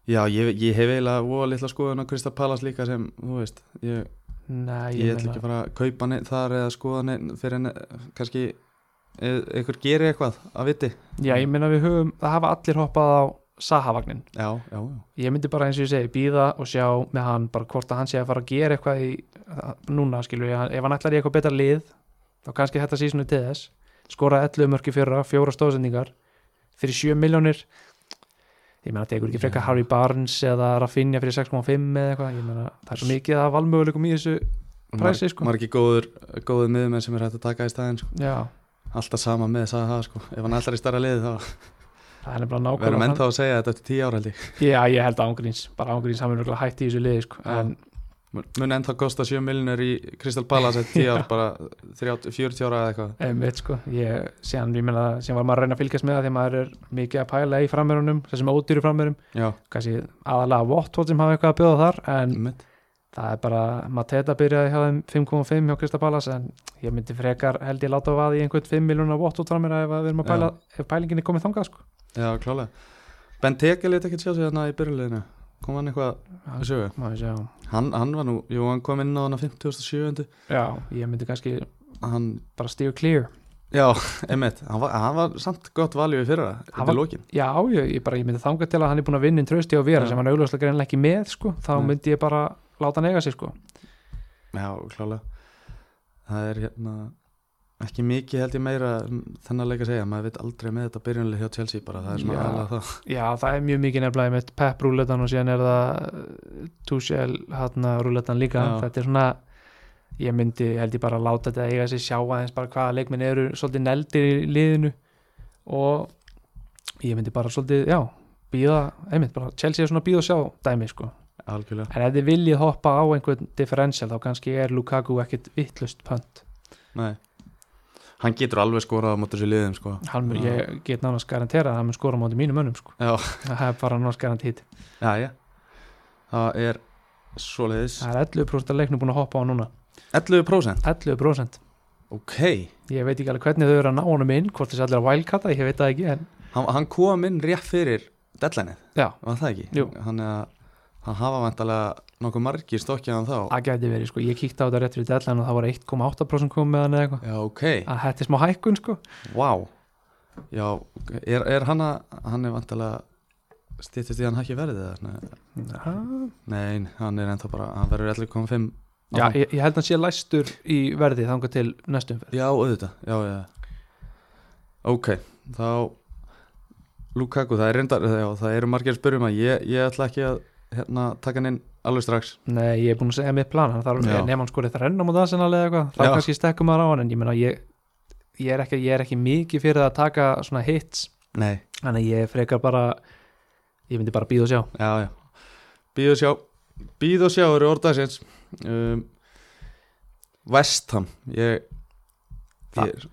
A: Já, ég, ég hef eiginlega voða litla skoðun á Crystal Palace líka sem, þú veist, ég
B: Nei,
A: ég ætla ekki
B: meina-
A: að fara að kaupa neitt þar eða skoða neitt fyrir en eh, kannski eð- einhver gerir eitthvað að viti
B: Já, ég meina við höfum, það hafa allir hoppað á Saha-vagnin
A: já, já, já,
B: ég myndi bara eins og ég segi, býða og sjá með hann bara hvort að hann sé að fara að gera eitthvað í, núna skilur ég, ef hann ætlar í eitthvað betra lið þá kannski þetta sísonu til þess skora 11 mörki fyrra, fjóra stóðsendingar fyrir 7 miljónir ég meina, tekur ekki frekar Harry Barnes eða Rafinha fyrir 6,5 eða eitthvað, ég meina, það er svo mikið að valmöguleikum í þessu, Præsi, sko.
A: margir góður, góður miðumenn sem er hægt að taka í staðin sko.
B: já
A: alltaf sama með Saha sko. ef hann ætlar í starra liði þá
B: það er nefnilega
A: verðum
B: nákvæmlega
A: ennþá að segja þetta eftir tíu ára held ég
B: þannig. já, ég held að ángríns, bara ángríns hann er nefnilega hætt í þessu liði, sko,
A: Já.
B: en
A: Mun- mun ennþá kosta 7 miljonir í Crystal Palace eftir tíu ára, bara 30, 40 ára eða eitthvað
B: Einmitt, sko. ég, síðan, ég meina, síðan var maður að reyna að fylgjast með það því að maður er mikið að pæla í framverunum þessum ódýru framverunum,
A: já,
B: kannski aðalega Watford sem hafa eitthvað að bjóða þar en
A: mitt
B: það er bara, Mateta byrjaði hjá þeim 5.5 hjá Kristapalas en ég myndi frekar held ég láta vaða í einhvern 5 miljónar Watford framveruna ef að við erum að pæla ef pælingin er komið þangað sko.
A: já, klálega Ben Tegel eitthvað ekki sjá sig þarna í byrjuleginu kom hann eitthvað að
B: Já,
A: sögu
B: má ég sjá.
A: hann, hann var nú, jú, hann kom inn á hann að 57.
B: Já, ég myndi kannski
A: hann
B: bara stíu clear
A: Já, einmitt, hann var, hann var samt gott valjú í fyrra,
B: Hann
A: undir
B: var-
A: lókin
B: Já, ég, ég, bara, ég myndi þangað til að hann er búin að vinna inn trösti á vera
A: Já.
B: sem hann augljóslega greinlega ekki með sko. þá
A: Nei.
B: myndi ég bara láta hann eiga sig sko.
A: Já, klálega Það er hérna ekki mikið held ég meira þennan leik að segja, maður veit aldrei með þetta byrjunlega hjá Chelsea bara, það er svona
B: Já.
A: aðalega það
B: Já, það er mjög mikið nefnilega með Pep rúletan og síðan er það eh, Tuchel hérna rúletan líka
A: Já.
B: þetta er svona ég myndi held ég bara að láta þetta eiga sig sjá aðeins bara hvaða leikminn eru svolítið neldir í liðinu og ég myndi bara svolítið, já býða, einmitt bara, Chelsea er svona býða og sjá dæmi sko,
A: Algjörlega,
B: en ef þið viljið hoppa á einhvern differential þá kannski er Lukaku ekkit vittlust pönt,
A: nei Hann getur alveg skorað á mótur sér liðum sko
B: hann mun,
A: Já.
B: ég get nánast garantera að hann mun skora á móti mínum önum sko,
A: Já,
B: það er bara nánast garantít
A: já, já Það er svoleiðis
B: það er 11% af leiknum búin að hoppa á núna
A: 11%
B: 11%
A: Ok,
B: ég veit ekki alveg hvernig þau eru að ná honum inn hvort þessi allir að wildcata, ég veit það ekki en
A: hann, hann kom inn rétt fyrir deadlineið,
B: já,
A: var það ekki?
B: Jú.
A: Hann, hann hafa vantalega nokkuð margir stokkjaðan þá
B: það gæti verið sko, ég kíkti á þetta rétt fyrir deadline og það voru 1,8% komið með hann eða eitthvað
A: Já, ok
B: að þetta er smá hækkun sko
A: Vá Já, er, er hann að hann er vantilega stýttist í að hann hækki verðið eða svona? Nei, hann er ennþá bara, hann verður 11.5
B: já,
A: áfram.
B: ég, ég held að hann sé læstur í verði þangað til næstum fyrir
A: já, auðvitað Já, já Ok, þá Lukaku, það er reyndar, já, það eru margir spyrjum að ég, ég ætla ekki að hérna, taka hann inn alveg strax
B: nei, ég er búin að segja mitt plan hann þarf,
A: Já.
B: nefn hann skorið það renna mútið aðsennalega eða eitthvað þá
A: Já.
B: kannski stekkum maður á hann en ég meina ég, ég, er ekki, ég er ekki mikið fyrir að taka svona hits
A: Nei,
B: þannig að ég frekar bara ég myndi bara býða og sjá
A: já, já Býð og sjá, býð og sjá eru orðaðsins um, Vestham Ég,
B: Þa-
A: ég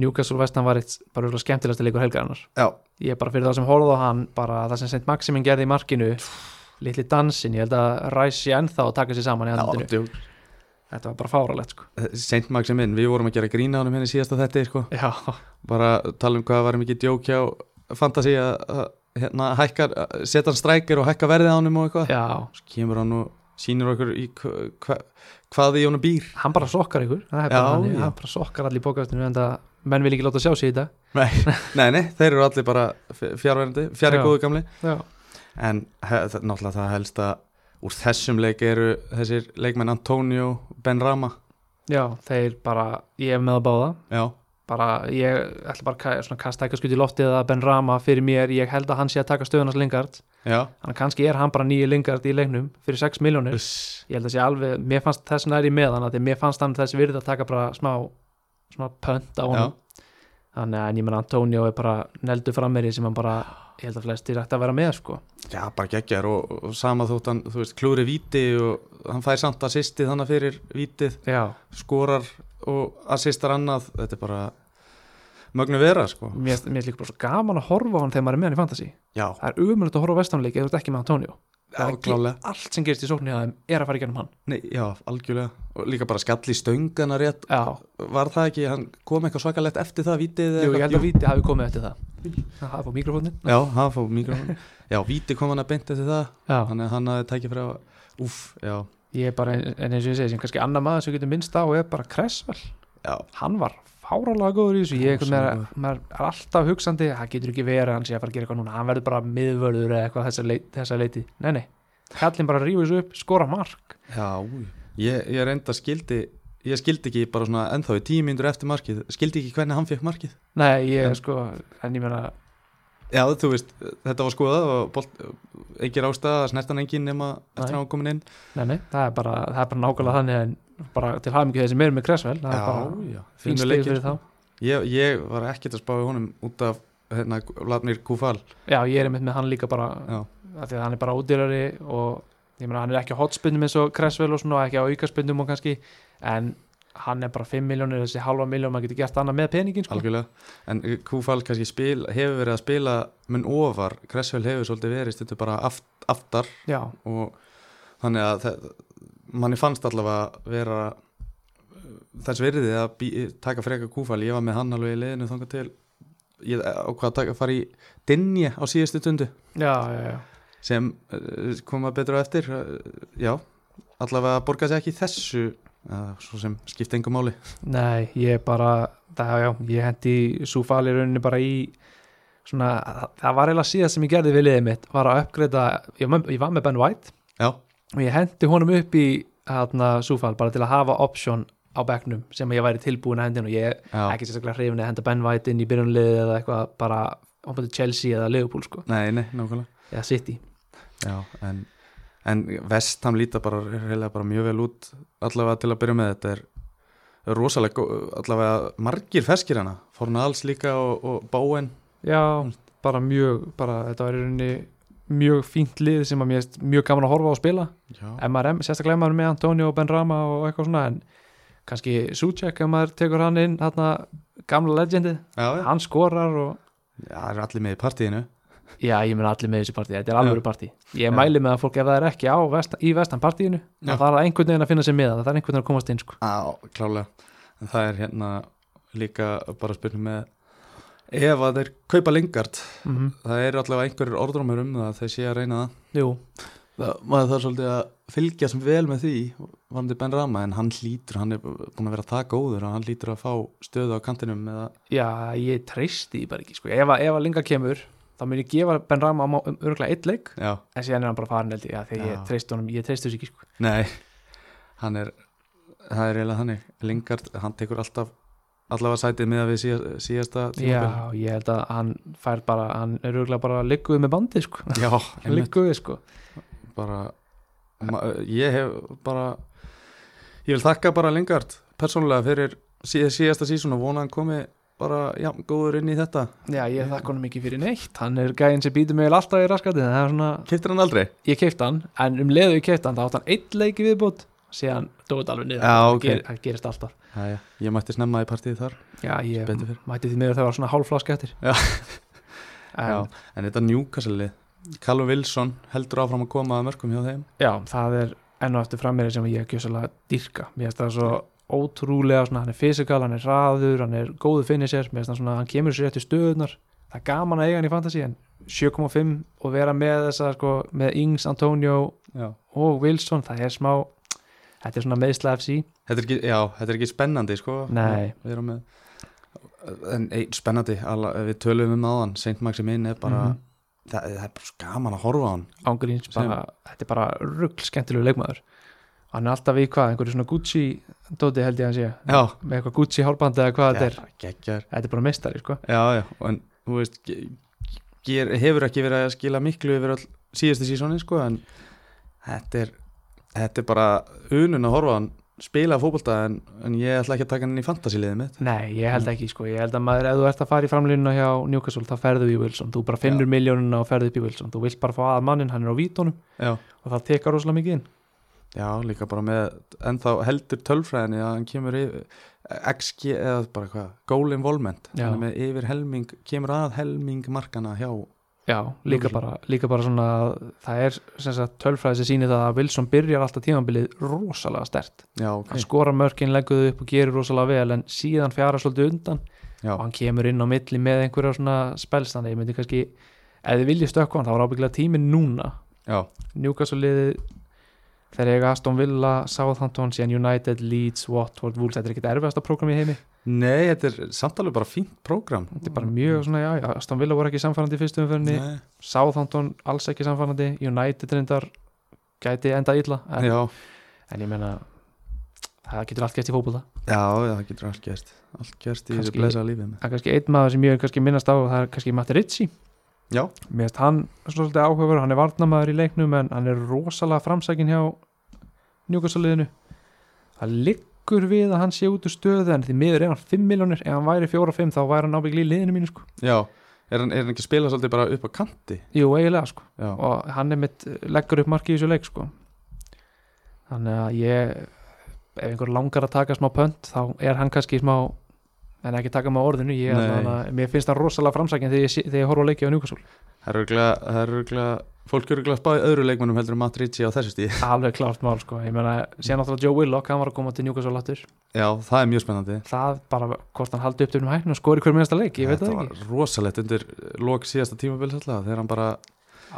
B: Newcastle Vestan var eitt bara örugglega skemmtilegasti leikur helgarinnar
A: Já,
B: ég er bara fyrir þá sem horfðu á hann bara það sem St. Maximin gerði í markinu litli dansin, ég held að ræsi ennþá og taka sér saman í
A: já,
B: andinu
A: djú,
B: þetta var bara fáralegt sko.
A: Saint Maximin, við vorum að gera grína ánum henni síðasta þetta sko.
B: já,
A: bara tala um hvað var mikið djók hjá Fantasí að að, hérna, hækka, að setja hann strækir og hækka verðið ánum og eitthvað
B: já,
A: Svo kemur hann og sýnir okkur í hva, hva, hvað í honum býr
B: hann bara sokkar ykkur það er
A: Já,
B: bara, hann,
A: já.
B: hann bara sokkar allir í bókastinu en það menn vil ekki láta sjá sig í þetta
A: nei, nei, nei, þeir eru allir bara fjárverandi, fjari
B: Já.
A: góðu gamli
B: já,
A: en he, það- náttúrulega það helst að úr þessum leik eru þessir leikmenn Antonio Benrama
B: já þeir bara, ég er með að báða
A: já,
B: bara, ég ætla bara að ka- svona, kasta ekki skutt í loftið að Ben Rama fyrir mér ég held að hann sé að taka stöðunars Lingard
A: já
B: þannig að kannski er hann bara nýju Lingard í leiknum fyrir 6 miljónir
A: Uss.
B: ég held að sé alveg, mér fannst þess næri með hann af því að mér fannst hann þess virði að taka bara smá smá pönt á honum þannig að en ég menn Antonio er bara neldu frammeri sem hann bara, ég held að flestir ætti að vera með sko,
A: já, bara geggjar og, og sama þótt hann, þú veist, klúri víti og hann fær samt assistið hann fyrir vítið,
B: já,
A: skorar og assistar annað, þetta er bara mögnu vera, sko
B: mér mér finnst líka bara svo gaman að horfa á hann þegar maður er með hann í fantasy
A: já,
B: það er umöðult að horfa á vestanleik eða þú ert ekki með Antonio
A: já,
B: það er ekki-
A: klálega
B: allt sem gerist í sóknir að þeim er að fara í gennum hann
A: Nei, já, algjörlega, og líka bara skall í stöngana rétt,
B: já,
A: var það ekki hann kom eitthvað svakalegt eftir það vítið eða
B: Jú,
A: eitthvað?
B: ég held að Víti hafi komið eftir það Það hafi á mikrofónin
A: já, hann fór mikrofón já, víti kom hann að beint eftir það
B: Já,
A: þannig að hann hafði tækið frá úf, já,
B: ég er bara, en eins og ég segi, sem kannski annar maður sem getur minnst á er bara Kressvel
A: já,
B: Hann var fárálega góður í þessu Ég er,
A: Rosalega
B: maður, maður er alltaf hugsandi, það getur ekki verið að hann sé að fara að gera eitthvað núna Hann verður bara miðvörður eða eitthvað þessa, leit, þessa leiti Nei, nei, kallinn bara rífur þessu upp, skora mark
A: Já, ég, ég reynda skildi ég skildi ekki bara svona ennþá í tíu mínútur eftir markið, skildi ekki hvernig hann fekk markið
B: Nei, ég
A: En-
B: sko, en ég meina
A: Já, þú veist, þetta var skoðað og bolt, engir ástæða, snertan engin nema eftir að
B: Nei.
A: hann komin inn
B: Nei, nei, það er bara, það er bara nákvæmlega þannig en bara til hafmyggju þeir sem eru með Kressvel Það er bara
A: já,
B: fín
A: fínu
B: stig
A: leikir
B: fyrir þá
A: ég, ég var ekkert að spáði honum út af hérna, Latnir Kúfal
B: Já, ég er einmitt með hann líka bara
A: Já.
B: af því að hann er bara ódýrari og ég meina hann er ekki á hotspinnum eins og Kressvel og svona og ekki á aukaspinnum og kannski en hann er bara 5 miljónir þessi halva miljón maður getur gert annað með peningin sko.
A: algjörlega, en Kúfal kannski spil, hefur verið að spila mun ofar Kressvel hefur svolítið verið stundu bara aft, aftar
B: Já,
A: og þannig að þe- manni fannst allavega vera uh, þess virði að bí, taka freka kúfal, ég var með hann alveg í leiðinu þangað til ég ákvað að taka, fara í Dinje á síðustu tundu
B: já, já, já.
A: sem uh, koma betur á eftir uh, já, allavega borga sér ekki í þessu uh, svo sem skipti engu máli
B: Nei, ég bara það, já, ég hendi súfali rauninni bara í svona, það, það var eiginlega síðast sem ég gerði við liðið mitt var að uppgreita, ég, var með- ég var með Ben White
A: já,
B: og ég hendi honum upp í hérna, súfal bara til að hafa option á bekknum sem ég væri tilbúin að hendin og ég
A: já,
B: ekki sérstaklega hrifin að henda Ben White inn í byrjunliðið eða eitthvað bara á bæti Chelsea eða Liverpool sko,
A: nei, nei, nákvæmlega
B: eða City
A: Já, en, en Vestham líta bara, reyla bara mjög vel út allavega til að byrja með þetta er rosalega, gó- allavega margir ferskir hana, Forna Alls líka og, og Báen,
B: Já, bara mjög, bara þetta var í rauninni mjög fínt lið sem að mér er mjög gaman að horfa á að spila
A: já,
B: MRM, sérstaklega ef maður er með Antonio og Ben Rama og eitthvað svona en kannski Suchek ef maður tekur hann inn þarna gamla legendi,
A: já, já.
B: hann skorar og
A: það eru allir með í partíinu
B: já, ég mun allir með þessu partí, þetta er alvöru partí ég
A: Já.
B: mæli með að fólk ef það er ekki á vest, í vestan partíinu,
A: Já.
B: það þarf einhvern veginn að finna sér með það, það er einhvern veginn að komast inn sko.
A: Já, klálega en það er hérna líka bara spyrnum með ef að þeir kaupa lengart
B: mm
A: það eru allavega einhverjur orðrómur um það að þeir sé að reyna það
B: Jú,
A: Það, maður þarf svolítið að fylgja sem vel með því varandi Ben Rama en hann hlýtur, hann er búin að vera það góður og hann hlýtur að fá stöðu á kantinum eða,
B: Já, ég treysti því bara ekki sko. ef, að- ef að linga kemur, þá mun ég gefa Ben Rama um, um örgulega eitt leik
A: já,
B: en síðan er hann bara farin held ég, já, þegar
A: Já.
B: ég treysti honum ég treysti þessu ekki sko.
A: nei hann er, það er eiginlega þannig Lingard, hann tekur alltaf allavega sætið með að við síðasta, síðasta tímabil.
B: Já, ég held að hann fær bara hann er örgulega bara ligguð með bandi sko.
A: já, einmitt
B: ligguð, sko.
A: bara, ma, ég hef bara ég vil þakka bara Lingard persónulega fyrir síð, síðasta sísun og vona að hann komi bara, já, góður inn í þetta
B: Já, ég þakka honum ekki fyrir neitt hann er gæðin sem býtur mig eiginlega alltaf í raskatið það er svona,
A: Kiptir hann aldrei?
B: ég keipta hann en um leiðu ég keipta hann, þá átt hann eitt leik í viðbútt síðan dóið alveg niður
A: Já, ok.
B: það, ger, það gerist alltaf
A: Æja, ég mætti snemma í partíð þar
B: Já, ég
A: Betur fer.
B: mæti því meður það var svona hálflask eftir
A: Já.
B: en,
A: Já, en þetta Newcastle Callum Wilson heldur áfram að koma að mörgum hjá þeim
B: Já, það er enn og eftir frammeiri sem ég gjössalega dyrka mér finnst það svo ótrúlega svona, hann er fysikal, hann er hraður, hann er góðu finisher mér finnst það svona, hann kemur sér rétt í stöðunar það er gaman að eiga hann í fantasy en 7.5 og vera með þessa sko, með Ings, Antonio
A: já.
B: og Wilson það er smá, þetta er svona meðsla FC
A: Þetta er ekki, já, þetta er ekki spennandi sko
B: Nei.
A: Við erum með En ein, spennandi, alla, við töluðum um áðan Saint Maximin er bara
B: Mhm.
A: það, það er bara svo gaman að horfa á hann
B: ángríns,
A: Sem-
B: bara, þetta er bara rugg skemmtilegu leikmaður hann er alltaf í hvað, einhverju svona Gucci dóti held ég að hann sé,
A: Já,
B: með eitthvað Gucci hárbandi eða hvað þetta er,
A: geggjar
B: þetta er bara mestari sko.
A: Já, já, en þú veist ge- ger, hefur ekki verið að skila miklu yfir all síðustu sísóni sko en þetta er þetta er bara unun að horfa á hann spila fótbolta en, en ég ætla ekki að taka hann inn í fantasíliðið mitt
B: nei, ég
A: Mm.
B: held ekki, sko. ég held að maður ef þú ert að fara í framlýnuna hjá Newcastle þá ferðu í Wilson, þú bara finnur miljónina og ferðu upp í Wilson, þú vilt bara fá að mannin, hann er á vítónum
A: Já,
B: og það tekar rosalega mikið inn
A: já líka bara með ennþá heldur tölfræðinni að hann kemur yfir XG eða bara hvað, goal involvement
B: Já.
A: hann er með yfir helming, kemur að helming markana hjá
B: Já, líka
A: Newcastle.
B: bara, líka bara svona að það er sem sagt, tölfræði sem sýnir það að Wilson byrjar alltaf tímanbilið rosalega stert
A: Já, ok,
B: hann skorar mörkin, leggur þau upp og gerir rosalega vel en síðan fjara svolítið undan
A: já,
B: og hann kemur inn á milli með einhverja svona spelst þannig, ég myndi kannski ef þið viljið stökku hann, þá er ábyggilega tíminn núna
A: já,
B: Newcastle liðið þegar ég Aston Villa, Southampton, síðan United, Leeds, Watford, Wolves þetta er ekkit erfiðasta prógram í heimi
A: Nei, þetta er samtalið bara fínt prógram
B: þetta er bara mjög svona, já, já, Aston Villa voru ekki samfærandi í fyrstu umferðinni, Southampton alls ekki samfærandi, United reyndar gæti enda illa en,
A: já,
B: en ég meina það getur allt gæst í fótbolta
A: já, já, það getur allt gerst allt gerst í þessu
B: Kannski-
A: blessa lífið með
B: það er kannski einn maður sem ég er kannski minnast á það er kannski Matti Ritchie
A: Já,
B: mér finnst hann svolítið áhugaverður, hann er varnamaður í leiknum en hann er rosalega framsækin hjá njúkastaliðinu það liggur við að hann sé út úr stöðu en því miður er hann 5 miljónir ef hann væri 4-5 þá væri hann ábyggli í liðinu mínu sko.
A: já, er hann, er hann ekki að spila svolítið bara upp á kanti
B: jú, eiginlega sko.
A: Já,
B: og hann er mitt eh, leggur upp marki í þessu leik sko. þannig að ég ef einhver langar að taka smá pönt þá er hann kannski smá en ekki taka með orðinu, ég,
A: Nei.
B: að, mér finnst hann rosalega framsækin þegar ég, sé- þegar ég horfa leiki á njúkastól
A: það er örugglega- það er örugglega fólk eru að spáði öðru leikmennum heldur um Matrici á þessu stíð
B: alveg klárt mál sko, ég meina síðan náttúrulega Joe Willock, hann var að koma til Newcastle aftur
A: Já, það er mjög spennandi
B: það bara, hvort hann haldi upp til um hættinu og skori hver minnasta leik, ég veit það
A: Þetta
B: ekki
A: var rosalegt undir lok síðasta tímabils alltaf þegar hann bara,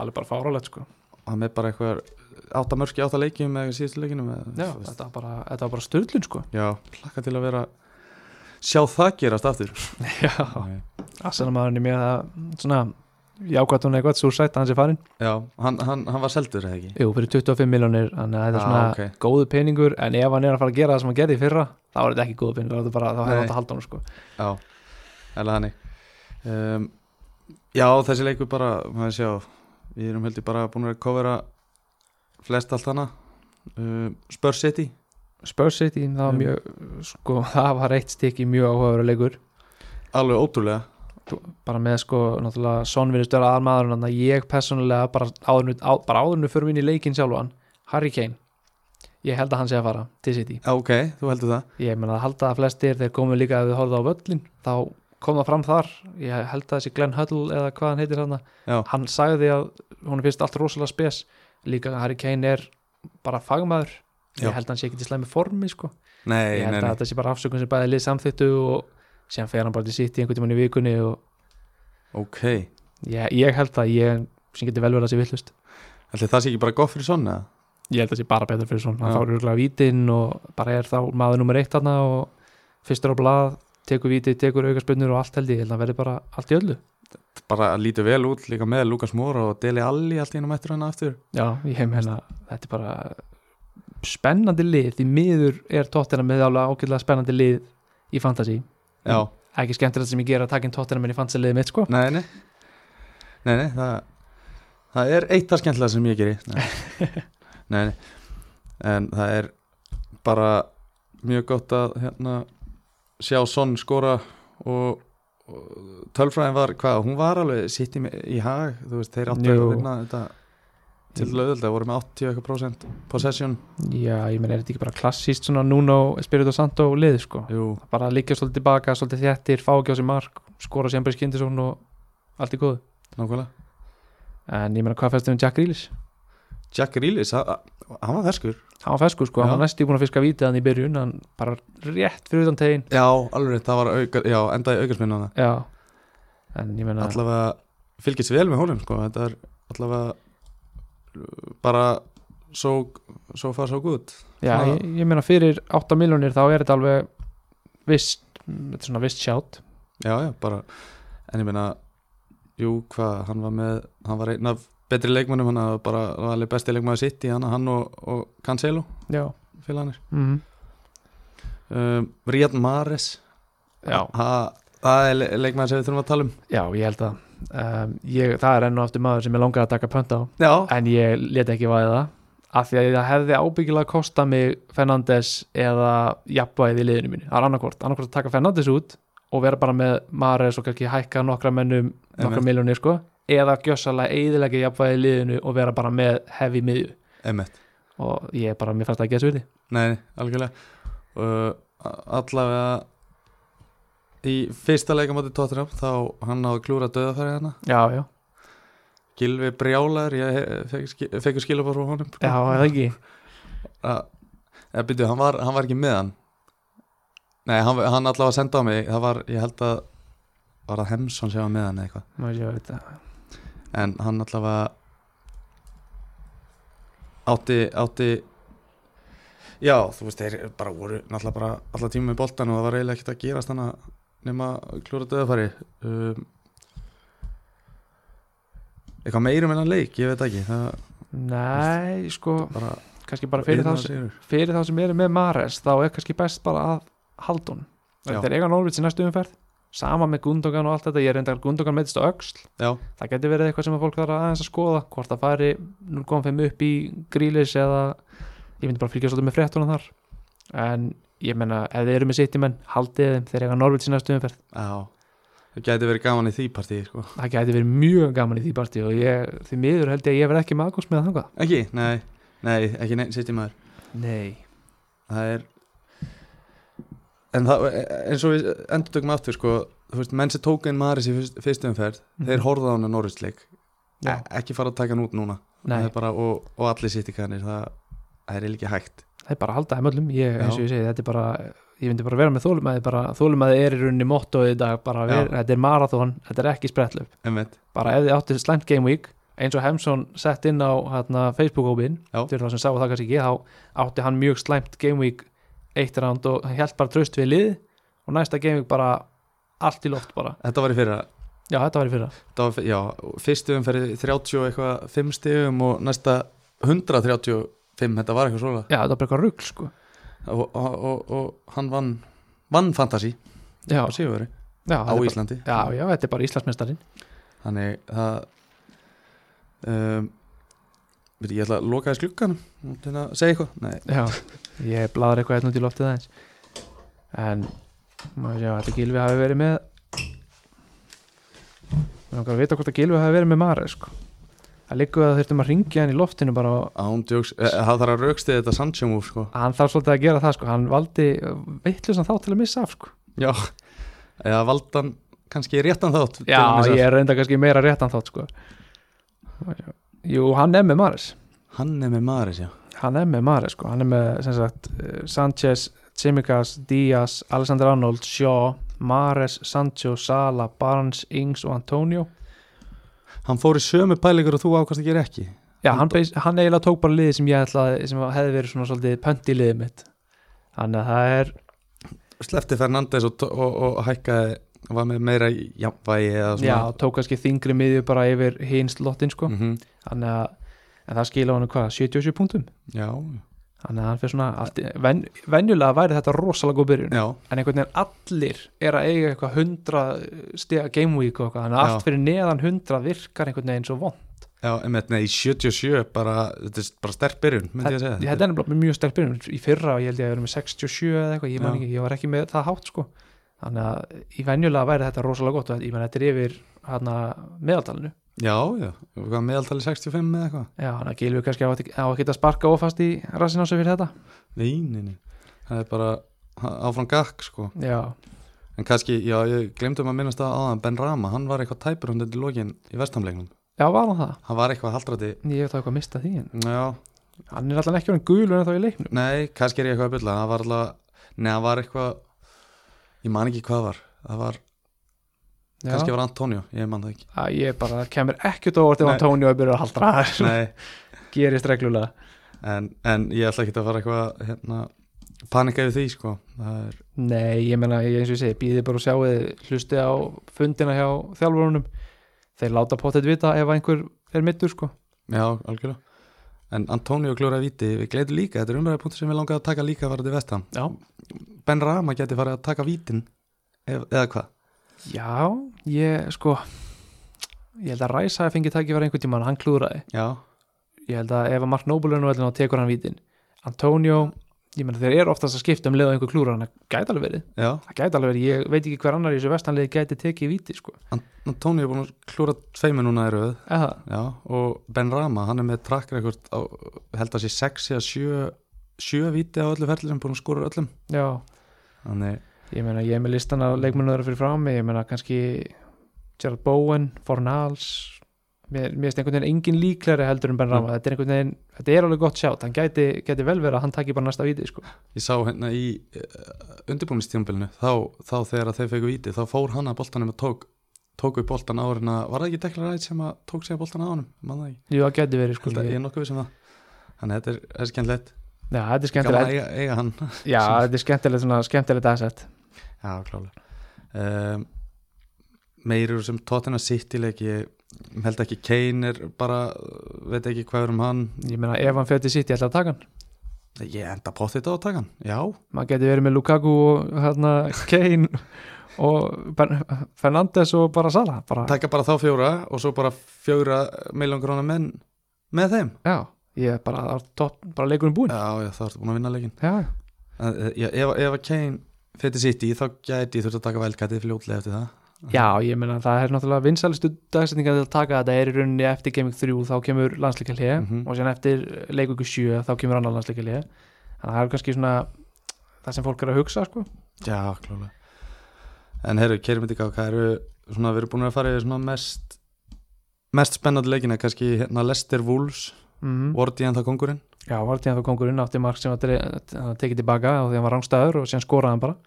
B: alveg bara fáralegt sko,
A: hann er bara eitthvað átta mörki átta leikjum eða síðustu leikjum
B: já, þetta var bara, þetta var bara styrlun sko,
A: já, plakka til að vera sjá það gerast aftur
B: já aðsennamaðurinn er mér að, svona jákvæmt hún eitthvað, súrsætt, hans er farinn
A: já, hann, hann, hann var seldur eða ekki
B: jú, fyrir 25 miljónir, þannig að þetta er
A: Já,
B: svona
A: Ah, ok.
B: góðu peningur, en ef hann er að fara að gera það sem hann gerði í fyrra, þá er þetta ekki góðu peningur þá er þetta bara, þá hefði
A: Nei.
B: hann átt að halda hann sko
A: já, eða þannig um, já, þessi leikur bara maður sjá, við erum heldur bara búin að kofera flest allt hana um, Spurs City
B: Spurs City, það var
A: Mm.
B: mjög, sko, það var eitt stykki mjög áhugaverulegur
A: alveg ótrúlega
B: bara með sko, náttúrulega Son virðist vera aðmaður en ég personulega bara áðurnu, á, bara áðurnu fyrir minni leikinn sjálfan Harry Kane, ég held að hann sé að fara til City,
A: já, ok, þú heldur það
B: ég meina að halda að flestir þeir komu líka að við horfðu á völlin þá kom það fram þar, ég held að þessi Glenn Huddle eða hvað hann heitir hann
A: Já.
B: hann sagði að hún finnst allt rosalega spes líka að Harry Kane er bara fagmaður
A: Já.
B: ég held að hann sé ekki til slæmi formi sko
A: nei,
B: ég held
A: nei, nei,
B: að þetta sé bara afsökun sem bæði lið samþýttu og síðan fer hann bara til City einhvern tímann í vikunni og
A: ok
B: Ég, ég held að ég sem getur vel verið að sé villust
A: Ætli það sé ekki bara gott fyrir svona?
B: ég held að sé bara betur fyrir svona hann
A: Já.
B: fáur örgulega vítinn og bara er þá maður nummer eitt þarna og fyrstur á blað tekur víti, tekur aukarspunnur og allt held ég ég held að hann verði bara allt í öllu
A: Bara að lítu vel út líka með Lukas Móra og Deli Alli allt í hennu mættur hann aftur.
B: já, ég meina þetta er bara spennandi lið því miður er tóttina með alveg ákveðlega spennandi lið í fantasy
A: Já,
B: ekki skemmtilegt sem ég gera að taka inn tóttina minn í fantasy liðið mitt sko
A: nei, nei. Nei, nei, það, það er eitt að skemmtilega sem ég geri. Nei. nei, nei. En það er bara mjög gott að hérna sjá Son skora og, og tölfræðin var, hvað, hún var alveg sitt í, í hag, þú veist, þeir áttu að
B: Jú.
A: vinna þetta til löðulega, voru með 80% possession.
B: já, ég meina er þetta ekki bara klassíst svona Nuno, Espirito Santo lið sko
A: Jú,
B: bara liggja svolítið tilbaka, svolítið þjættir fá ekki á sig mark, skora sér bara í skyndisókn og allt í góðu,
A: nákvæmlega.
B: en ég meina hvað fæstum við Jack um Grealish
A: Jack Reelis, hann var ferskur
B: hann var feskur sko, hann
A: Já.
B: var næstu búin að fiska vítið hann í byrjun hann bara rétt fyrir utan tegin
A: Já, alveg, rétt, það var auka, já, endaði aukarsminna
B: já, en ég meina
A: allavega fylgist vel með honum sko. þetta er allavega uh, bara so, so far so good
B: já,
A: svona-
B: ég, ég meina fyrir 8 miljónir þá er þetta alveg vist, þetta er svona vist sjátt
A: já, já, bara, en ég meina jú, hvað, hann var með hann var einn af betri leikmönnum hann var bara hann var alveg besti leikmöður sitt í hann hann og, og Cancelo
B: já,
A: félagarnir
B: mm.
A: um, Ríad Mares
B: já,
A: ha, það er le- leikmæður sem við þurfum að tala um
B: já, ég held að um, ég, það er enn og aftur maður sem ég langaði að taka pönt á
A: já,
B: en ég leti ekki vaðið það af því að það hefði ábyggilega kosta mig Fernandes eða jafnvæðið í liðinu mínu, það er annarkvort annarkvort að taka Fernandes út og vera bara með Mares og kannski hækka nokkra mennum nokkra
A: Einmitt.
B: miljónir sko, eða gjössalega eðilegja jafnvæðið í liðinu og vera bara með hefi miðju
A: emmett
B: og ég er bara, mér fannst það ekki þessu viti
A: nei, algjörlega uh, allavega í fyrsta leikamóti Tottenham þá hann náði klúra döðafæri hana
B: já, já,
A: Gilvi Brjálar ég he- fekk ski- fekk skilabóð frá honum
B: já, eða ekki
A: Að- eða byrju, hann var, hann var ekki með hann nei, hann, hann allavega senda á mig það var, ég held að var það Hemsson sem var með hann eða eitthvað
B: Má ég sjá þetta.
A: en hann allavega átti, átti já, þú veist, þeir bara voru náttúrulega bara allar tíma með boltan og það var eiginlega ekkert að gerast þannig að nema klúra döðafæri um, eitthvað meirum en hann leik, ég veit ekki það
B: nei, sko,
A: bara
B: kannski bara fyrir þá, sem-
A: sigur
B: fyrir þá sem eru með Mares þá er kannski best bara að haldun
A: Já.
B: þetta er eiga Norvits í næstu umferð sama með Gundogan og allt þetta, ég er reyndar Gundogan meðist á öxl,
A: já,
B: það getur verið eitthvað sem að fólk þarf aðeins að skoða, hvort það fari 0.5 upp í grílis eða ég myndi bara fylgja svolítið með fréttunum þar en ég menna, ef þið eru með sittimenn haldið þeim, þeir eiga Norvits í næstu umferð
A: já það gæti verið gaman í því partíi sko.
B: það gæti verið mjög gaman í því partí og ég, því miður held ég að ég verð ekki magos með þangað
A: ekki, nei, nei, ekki neinn sýtti maður
B: Nei
A: það er en það, eins og við endur tökum aftur sko, þú veist, menn sem tók einn Maris í fyrst, fyrstu umferð, þeir horfða á hann að Norrisleik, e
B: Mhm. Já.
A: ekki fara að taka hann út núna
B: Nei,
A: Það er bara, og, og allir sitt í kannir það, það er eiginlega ekki hægt
B: það er bara að halda þeim öllum ég, eins og
A: Já.
B: ég segi, þetta er bara ég myndi bara vera með þólumæði, bara þólumæði er í rauninni mottoið í dag, bara
A: Já.
B: ver, þetta er marathon þetta er ekki sprettlöf,
A: Einmitt.
B: bara ef þið áttu slæmt game week eins og Hemsson sett inn á hérna, Facebook-hópin,
A: Já.
B: til þá sem sá það kannski ekki þá átti hann mjög slæmt game week eitt ránd og hann held bara tröst við lið og næsta game week bara allt í loft bara,
A: þetta var í fyrra
B: já þetta var í fyrra
A: það var, já, fyrstu umferði 30 og eitthvað 5 stigum og næsta 135, þetta var eitthvað svona
B: já þetta var bara eitthvað rugl sko
A: og, og, og, og hann vann vann Fantasí
B: já,
A: á Sigurveri
B: já,
A: á
B: þetta er bara-
A: Íslandi
B: Já, já, þetta er bara Íslandsmeistarin
A: Þannig það um, veit, Ég ætla að loka þess glugganum til að segja eitthvað Nei,
B: Já, ég bladar eitthvað hérna út í loftið aðeins En maður séu að þetta Gilvi hafi verið með Mér langar að vita hvort að Gilvi hafi verið með Mara sko. Það liggur að þurftum að ringja hann í loftinu bara og
A: án djóks eh, Það þarf að raukstið þetta Sanchemúf sko.
B: hann þarf svolítið að gera það sko. hann valdi vittlusan þá til að missa af sko.
A: Já, eða valdan kannski réttan þátt til
B: Já,
A: að missa.
B: ég er reynda kannski meira réttan þátt sko. Maður séu- Jú, hann er með Maris
A: Hann er með Maris, já
B: hann er með Mares sko. hann er með sem sagt, eh, Sanchez, Tsimikas, Díaz Alexander Arnold, Shaw Mares, Sancho, Sala, Barnes Ings og Antonio
A: Hann fór í sömu pælingur og þú ákast að gera ekki
B: Já, hann, beis, hann eiginlega tók bara liðið sem ég ætlaði sem hefði verið svona svolítið pönt í liðið mitt þannig að það er
A: Slefti Fernandes og, og, og hækkaði var með meira jafnvægi eða svona
B: já, tók kannski þingri miðju bara yfir hins lottin sko
A: Mhm,
B: þannig að en það skila hann hvað, 77 punktum
A: já,
B: þannig að hann fyrir svona allt, í- ven, venjulega væri þetta rosalega góð byrjun
A: já,
B: en einhvern veginn allir er að eiga eitthvað 100 stiga game week og eitthvað, þannig að
A: Já.
B: allt fyrir neðan 100 virkar einhvern veginn svo von
A: já einmitt, nei, í 77 bara, þetta er bara sterk byrjun myndi ég að segja
B: þetta er nefnilega mjög sterk byrjun í fyrra og ég held ég að vera með 67 eða eitthvað ég man
A: Já.
B: ekki, ég var ekki með það hátt sko þannig að í venjulega væri þetta rosalega gott og þetta- ég menn þetta er yfir hana, meðaltalinu
A: Já, já, hvað, meðaltali 65 eða eitthvað
B: Já, þannig að Gilvi kannski á að á að geta sparka ofast í rassin á sig fyrir þetta
A: Nei, nei, nei, það er bara áfram gakk sko
B: Já,
A: um en kannski, já, ég glemdum að minnast það áðan Ben Rama, hann var eitthvað tæpur undir til lokin í vestamleiknum
B: já Já, var hann það?
A: hann var eitthvað haldrati
B: Ég hef það eitthvað að mista því en
A: já,
B: hann er alltaf ekki orðin gulur en þá í leiknum
A: nei, kannski er ég eitthvað að bylla hann var alltaf, nei, hann var eitthvað ég man ekki hvað var það var,
B: Já.
A: kannski var Antonio ég man það ekki
B: að ég bara kemur ekkert á orðið
A: Nei.
B: ef Antonio er byrjað að haldra það
A: nei,
B: gerist reglulega
A: en, en ég ætla ekki að fara eitthvað hérna, panika yfir því sko það er,
B: nei, ég meina, ég- eins og ég segi, býði bara og sjáið hlusti á fundina hjá þjálfurunum þeir láta pottet vita ef einhver er mittur sko
A: já, algjörlega en Antonio klúraði víti, við gleyðum líka þetta er umræðapunkt sem við langaði að taka líka að fara til vestam
B: já,
A: Ben Rama geti farið að taka vítin ef, eða hvað
B: já ég sko ég held að Ræsa að fengi tækifæri einhvern tímann hann klúðraði,
A: já,
B: ég held að ef að Mark Noble er nú velinn og tekur hann vítin Antonio, ég meina þeir eru oftast að skipta um leið og einhver klúra hann, það gæti alveg verið
A: já,
B: það gæti alveg verið, ég veit ekki hver annar í þessu vestanlið gæti tekið víti sko
A: Antonio er búin að klúra tveimur núna í röð
B: eða,
A: já, og Ben Rama, hann er með track record á, held að sé 6 eða 7 7 víti á öllu ferli sem búin að skora úr öllum
B: já,
A: þannig,
B: Ég meina, ég er með listan af leikmennu þeirra fyrir frá mig, ég meina kannski Gerald Bowen, Fornals mér, mér finnst einhvern veginn engin líklari heldur en Ben Rama,
A: Mm.
B: þetta er einhvern veginn þetta er alveg gott sjátt, hann gæti, gæti vel verið að hann taki bara næsta víti, sko.
A: ég sá hérna í uh, undirbúinistíðanbylnu þá, þá þegar að þeir fegu víti, þá fór hann að boltanum og tók, tók upp boltan á hann var það ekki deklar rætt sem að tók sig að boltan á honum mann það ekki,
B: Jú, það gæti verið, sko.
A: Held að- ég
B: Ég,
A: er nokkuð vissum það þannig þetta er, er skemmtilegt
B: já,
A: gaman
B: þetta er
A: að
B: skemmtilegt
A: eiga, eiga hann
B: Já, þetta er skemmtilegt, svona skemmtilegt aðsett
A: Já, klálega um, Meirur sem Tottenham City leik ég held ekki Kane er bara uh, veit ekki hvað er um hann
B: Ég meina, ef hann fyrir til sitt, ég ætla að taka hann
A: ég enda potið þetta á að taka hann já,
B: maður gæti verið með Lukaku og hérna, Kane og ben, Fernandes og bara Sala bara,
A: taka bara þá fjóra og svo bara fjóra miljón grónar menn með þeim
B: já, ég er bara, top, bara leikurinn búinn
A: já, já þá ertu búin að vinna leikin
B: Já,
A: já, ef, ef að Kane fyrir City þá gæti ég þurft að taka velkætið fljótlega eftir það
B: Já, ég meina það er náttúrulega vinsælustu dagsetningar til að taka þetta er í rauninni eftir Gaming 3 þá kemur landslíkjalið
A: Mhm.
B: og síðan eftir leikugu 7 þá kemur annar landslíkjalið þannig að það er kannski svona það sem fólk er að hugsa sko.
A: Já, klálega En herru, keirum þetta ekki á hvað eru svona, við erum búin að fara í svona mest mest spennandi leikina, kannski hérna Lester Wolves,
B: mm
A: Vordi en það kongurinn
B: Já, var tíðan þá kongurinn átti mark sem var dre- hann tekið tilbaka og því hann var rángstæður og síðan skoraði hann bara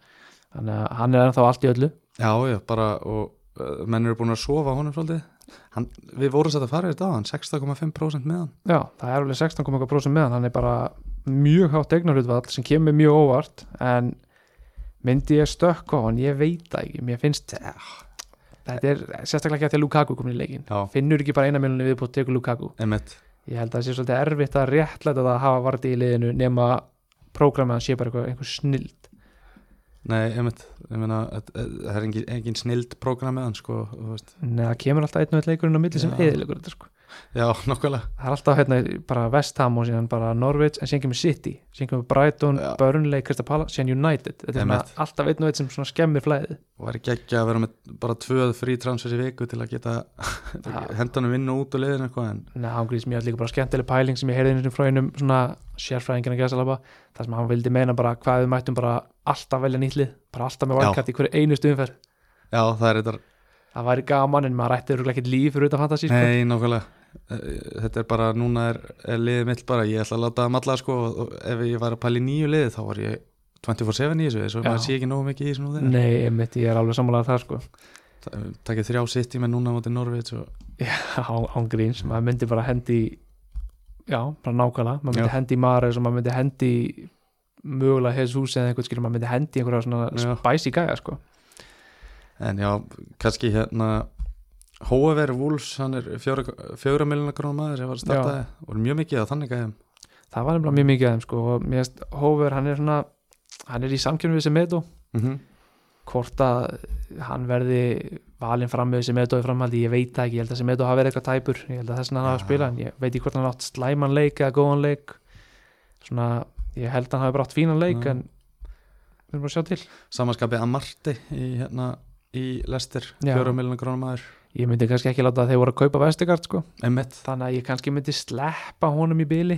B: þannig að hann er ennþá allt í öllu
A: Já, já, bara og uh, menn eru búin að sofa á honum svolítið hann, Við vorum satt að fara í þetta á hann 6,5% með hann
B: Já, það er alveg 16,1% meðan hann er bara mjög hátt eignarhutvall sem kemur mjög óvart en myndi ég stökka á hann, ég veit það ekki mér finnst eh, þetta er sérstaklega ekki að því að Lukaku komin í leikin
A: Já,
B: finnur ekki bara eina miljónu viðbútt tekur Lukaku
A: emitt
B: ég held að það sé svolítið erfitt að réttlæta það að hafa varði í liðinu nema prógramið hann sé bara eitthvað, einhver snild
A: Nei, emitt, ég meina að- að- það er engin, engin snild prógram með hann sko, þú veist.
B: neða það kemur alltaf einn og einn leikurinn á milli sem
A: Já.
B: eðilegur þetta sko
A: Já, nokkulega
B: það er alltaf hérna bara West Ham og síðan bara Norwich en síðan kemur City, síðan kemur Brighton
A: Já.
B: Burnley, Crystal Palace, síðan United þetta er svona
A: Einmitt.
B: alltaf einn og einn sem svona skemmir flæðið
A: og er geggja að vera með bara tvöð frí transfers í viku til að geta
B: Já.
A: hendanum inn og út og leiðin eitthvað en
B: Nei, hann grýst mjög líka bara skemmtileg pæling sem ég heyrði einu sinni frá einum svona sérfræðingina gæsalaba, þar sem hann vildi meina bara hvað við mættum bara alltaf velja nýtlið bara alltaf með
A: Já.
B: valkart í hverju einustu umferð
A: já, það er þetta
B: það væri gaman en maður ætti örugglega ekkert líf fyrir utan fantasí sko.
A: Nei, nákvæmlega Eh, Þetta er bara, núna er, er liðið mitt bara ég ætla að láta það malla sko og- og ef ég var að pæla í nýju liðið þá var ég 24-7 í þessu, þessu
B: Já.
A: maður sé ekki nógu mikið í þessu nú þegar
B: Nei, einmitt, ég er alveg sammálaðar það sko
A: Ta- Takið þrjá sitt í með núna á móti Norvits og
B: án án gríns, maður myndi bara hendi í- já, bara nákvæmlega maður myndi
A: Já.
B: hendi í Mares og maður myndi hendi í mögulega Jesus eða einhvern skilur maður myndi hendi í einhverja svona
A: Já.
B: spicy gæja sko.
A: en já, kannski hérna Hóever Wúls, hann er fjóra, fjóra miljonar grónum maður sem var að starta og er mjög mikið á þannig gæðum
B: það var nefnilega mjög mikið af þeim sko. og mér finnst Hóver, hann er svona hann er í samkjörnum við Semedo
A: mm
B: Mhm. hvort að hann verði valinn fram með Semedo í framhaldi, ég veit það ekki, ég held að Semedo hafi verið eitthvað tæpur ég held að þess að hann hafi
A: Já.
B: að spila, en ég veit ekki hvort hann hafi átt slæman leik eða góðan leik svona, ég held að hann hafi bara átt fínan leik
A: Já.
B: en við erum bara að sjá til
A: Samanskapið Amarti í hérna í Lester,
B: Já.
A: fjóra miljonar grónum maður
B: ég myndi kannski ekki láta að þeir voru að kaupa vestigard sko.
A: Emmett,
B: þannig að ég kannski myndi sleppa honum í bili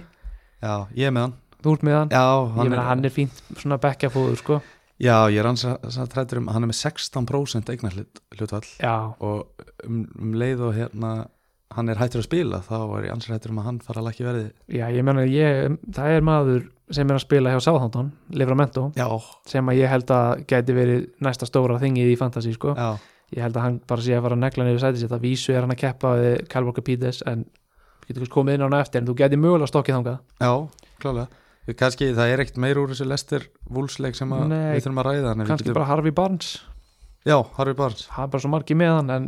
A: já, ég er með hann
B: þú ert með hann,
A: Já,
B: ég meina hann er fínt svona bekkjafóður sko.
A: Já, ég er hans að trættur um að hann er með 16% eignar hlutvall
B: já,
A: og um, um leið og hérna hann er hættur að spila þá er ég ansar hættur um að hann fara að lækki verði
B: Já, ég menna, ég, það er maður sem er að spila hjá Sáðhandón, Livramento
A: Já,
B: sem að ég held að gæti verið næsta stóra þingið í fantasy, sko
A: já,
B: ég held að hann bara sé að fara að negla niður sætið sitt að vísu er hann að keppa við Kyle Walker Peters en getur kannski komið inn á hann á eftir en þú gæti mögulega stokkið þangað
A: já, klálega Við kannski það er ekkert meir úr þessu lestir vúlsleik sem að
B: Nei,
A: við þurfum að ræða en við
B: kannski bara Harvey Barnes,
A: Já, Harvey Barnes
B: hann er bara svo margi með hann en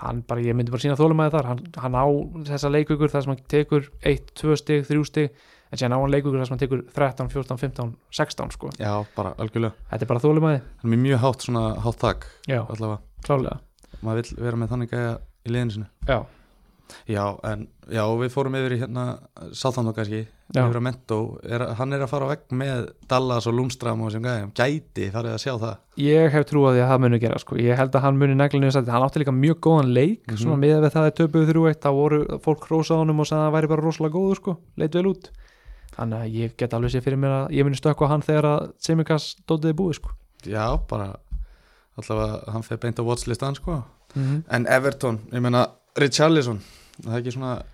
B: hann bara, ég myndi bara sína þólumæði þar, hann, hann á þessa leikvíkur þar sem hann tekur 1, 2 stig, 3 stig en sér á hann leikvíkur þar sem hann tekur 13, 14, 15, 16 sko,
A: Já, bara algjörlega
B: þetta er bara þólumæði
A: Hann er mjög hátt svona hátt þak
B: já,
A: allavega,
B: klálega
A: maður vill vera með þannig gæja í liðinu sinu
B: já,
A: Já, en já, við fórum yfir í hérna Sáþándó kannski,
B: já,
A: yfir að Mentó er, hann er að fara á vegg með Dallas og Lúmstram og sem gæjum, gæti farið að sjá það
B: ég hef trú að því að það muni gera sko. ég held að hann muni negla niður sætið, hann átti líka mjög góðan leik
A: Mhm.
B: svona miðað við það að töpuðu þrjú eitt þá voru fólk hrósað honum og sagði að hann væri bara rosalega góður sko, leit vel út þannig að ég get alveg sér fyrir mér að ég muni stökkva hann þegar að Simikas dótiði búið sko.
A: Já, bara allavega hann fer beint á watchlistan sko
B: Mhm.
A: En Everton, ég meina Richarlison, það er ekki svona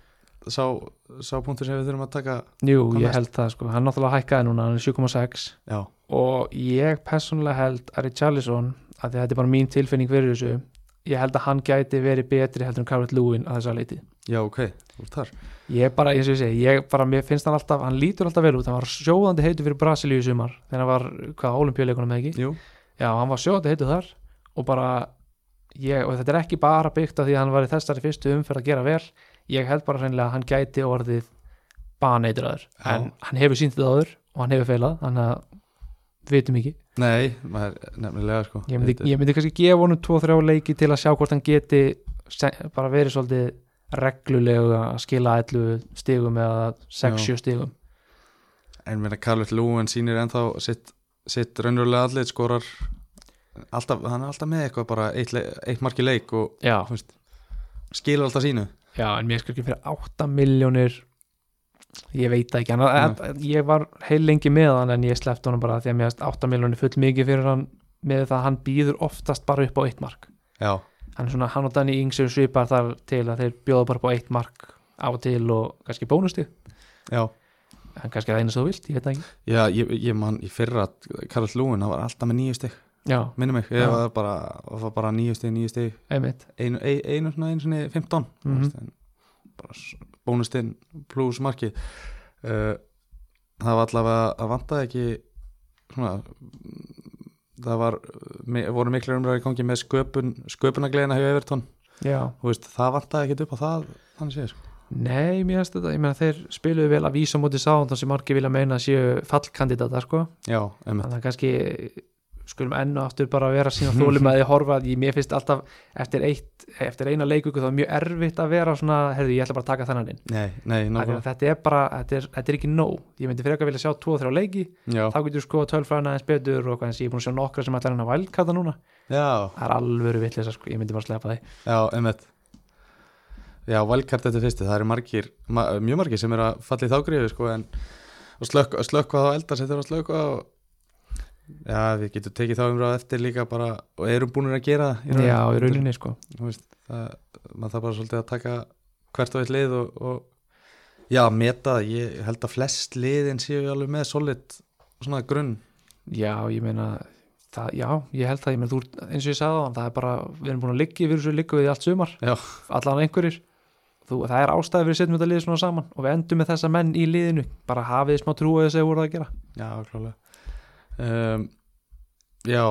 A: sá, sá punktur sem við þurfum að taka
B: jú,
A: Hvað
B: ég
A: næst?
B: held það sko. hann náttúrulega hækkaði núna, hann er 7,6
A: Já,
B: og ég persónulega held að Richarlison, að því að þetta er bara mín tilfinning fyrir þessu, ég held að hann gæti verið betri heldur en Carvet Lewin að þessa leiti
A: já ok, þú ert þar
B: ég bara, eins og ég segi, ég bara, mér finnst hann alltaf hann lítur alltaf vel út, hann var sjóðandi heitu fyrir Brasilíu í sumar, þegar hann var hvað, olimpíuleikunum eða ekki,
A: Jú,
B: já, hann var sjóðandi heitu þar og bara ég, og þetta er ekki bara byggt af því að hann var í þessari fyrstu umferð að gera vel, ég held bara hreinlega að hann gæti orðið baneitraður,
A: Já.
B: en hann hefur sínt þetta áður og hann hefur feilað, þannig að við vitum ekki,
A: nei, maður er nefnilega sko
B: ég myndi,
A: Þetta-
B: ég myndi kannski gefa honum 2-3 leiki til að sjá hvort hann geti se- bara verið svolítið reglulega að skila 11 stigum eða 6-7 stigum
A: En ég meina Carlvett Lúen sýnir ennþá sitt, sitt raunverulega allir skorar alltaf, hann er alltaf með eitthvað bara eitt, le- eitt marki leik og
B: já,
A: þú veist, skilur alltaf sínu
B: já, en mér skil ekki fyrir 8 miljónir ég veit það ekki, hann, að, að, ég var heil lengi með hann en ég sleppti honum bara því að mér finnst 8 miljónir full mikið fyrir hann með það að hann býður oftast bara upp á eitt mark
A: Já,
B: hann, er svona, hann og Danny Ings eru svipar þar til að þeir bjóða bara upp á eitt mark á og til og kannski bónusti
A: já
B: en kannski það eina svo vilt, ég veit það ekki
A: Já, ég, ég man í fyrra að Carlvett Lúen, hann var alltaf með nýju stig
B: já,
A: Minni mig, ég
B: Já.
A: var bara, var bara nýju stig, nýju stig
B: einmitt,
A: einu, ein- einu, svona, einu sinni 15 mm
B: Mhm.
A: -hmm. bara s- bónustinn pluss markið uh, það var allavega að vantaði ekki svona mm, það var, mi, voru miklu umræður í gangi með sköpun, sköpunagleina hjá Evertón,
B: já
A: þú veist, það vantaði ekki upp á það, þannig séð sko.
B: Nei, mér finnst þetta, ég meina þeir spiluðu vel að vísa á móti sáðan sem margir vilja meina að séu fallkandidata sko
A: já, um,
B: þannig að kannski skulum enn og aftur bara vera sína þólum að þið horfa að ég, mér finnst alltaf eftir, eitt, eftir eina leikvíku þá er mjög erfitt að vera svona, heyrðu ég ætla bara að taka þennan inn
A: nei, nei,
B: Af því að
A: nákvæmlega
B: þetta er bara, þetta er, þetta er ekki nóg ég myndi frekar vilja sjá 2-3 leiki
A: já,
B: þá getur þú skoða tölfræðina eins betur og hvað eins ég er búin að sjá nokkra sem ætlar hann að vælkata núna
A: já,
B: það er alvöru vitleisa sko, ég myndi bara slepa því
A: já, um já, valkart þetta fyrsti, það eru margir ma mjög margir sem eru að falla í þágrifi sko, en og slökk, slökkva þá eldar sem þeirra að slökkva og já, við getum tekið þá umræða eftir líka bara og erum búinir að gera það í raun.
B: Já, í rauninni sko
A: Þú veist, það, maður þarf bara svolítið að taka hvert og eitt lið og, og já, meta, það. ég held að flest liðin séu alveg með solid svona grunn,
B: Já, ég meina það, já, ég held það, ég meina þú ert- eins og ég sagði á það er bara, við erum búin að liggja við þessu liggum við í allt sumar,
A: Já.
B: allan einhverjir þú, það er ástæði fyrir setjum þetta lið svona saman og við endum með þessa menn í liðinu bara hafið smá trú að þessu voru að gera
A: já, klálega um, já,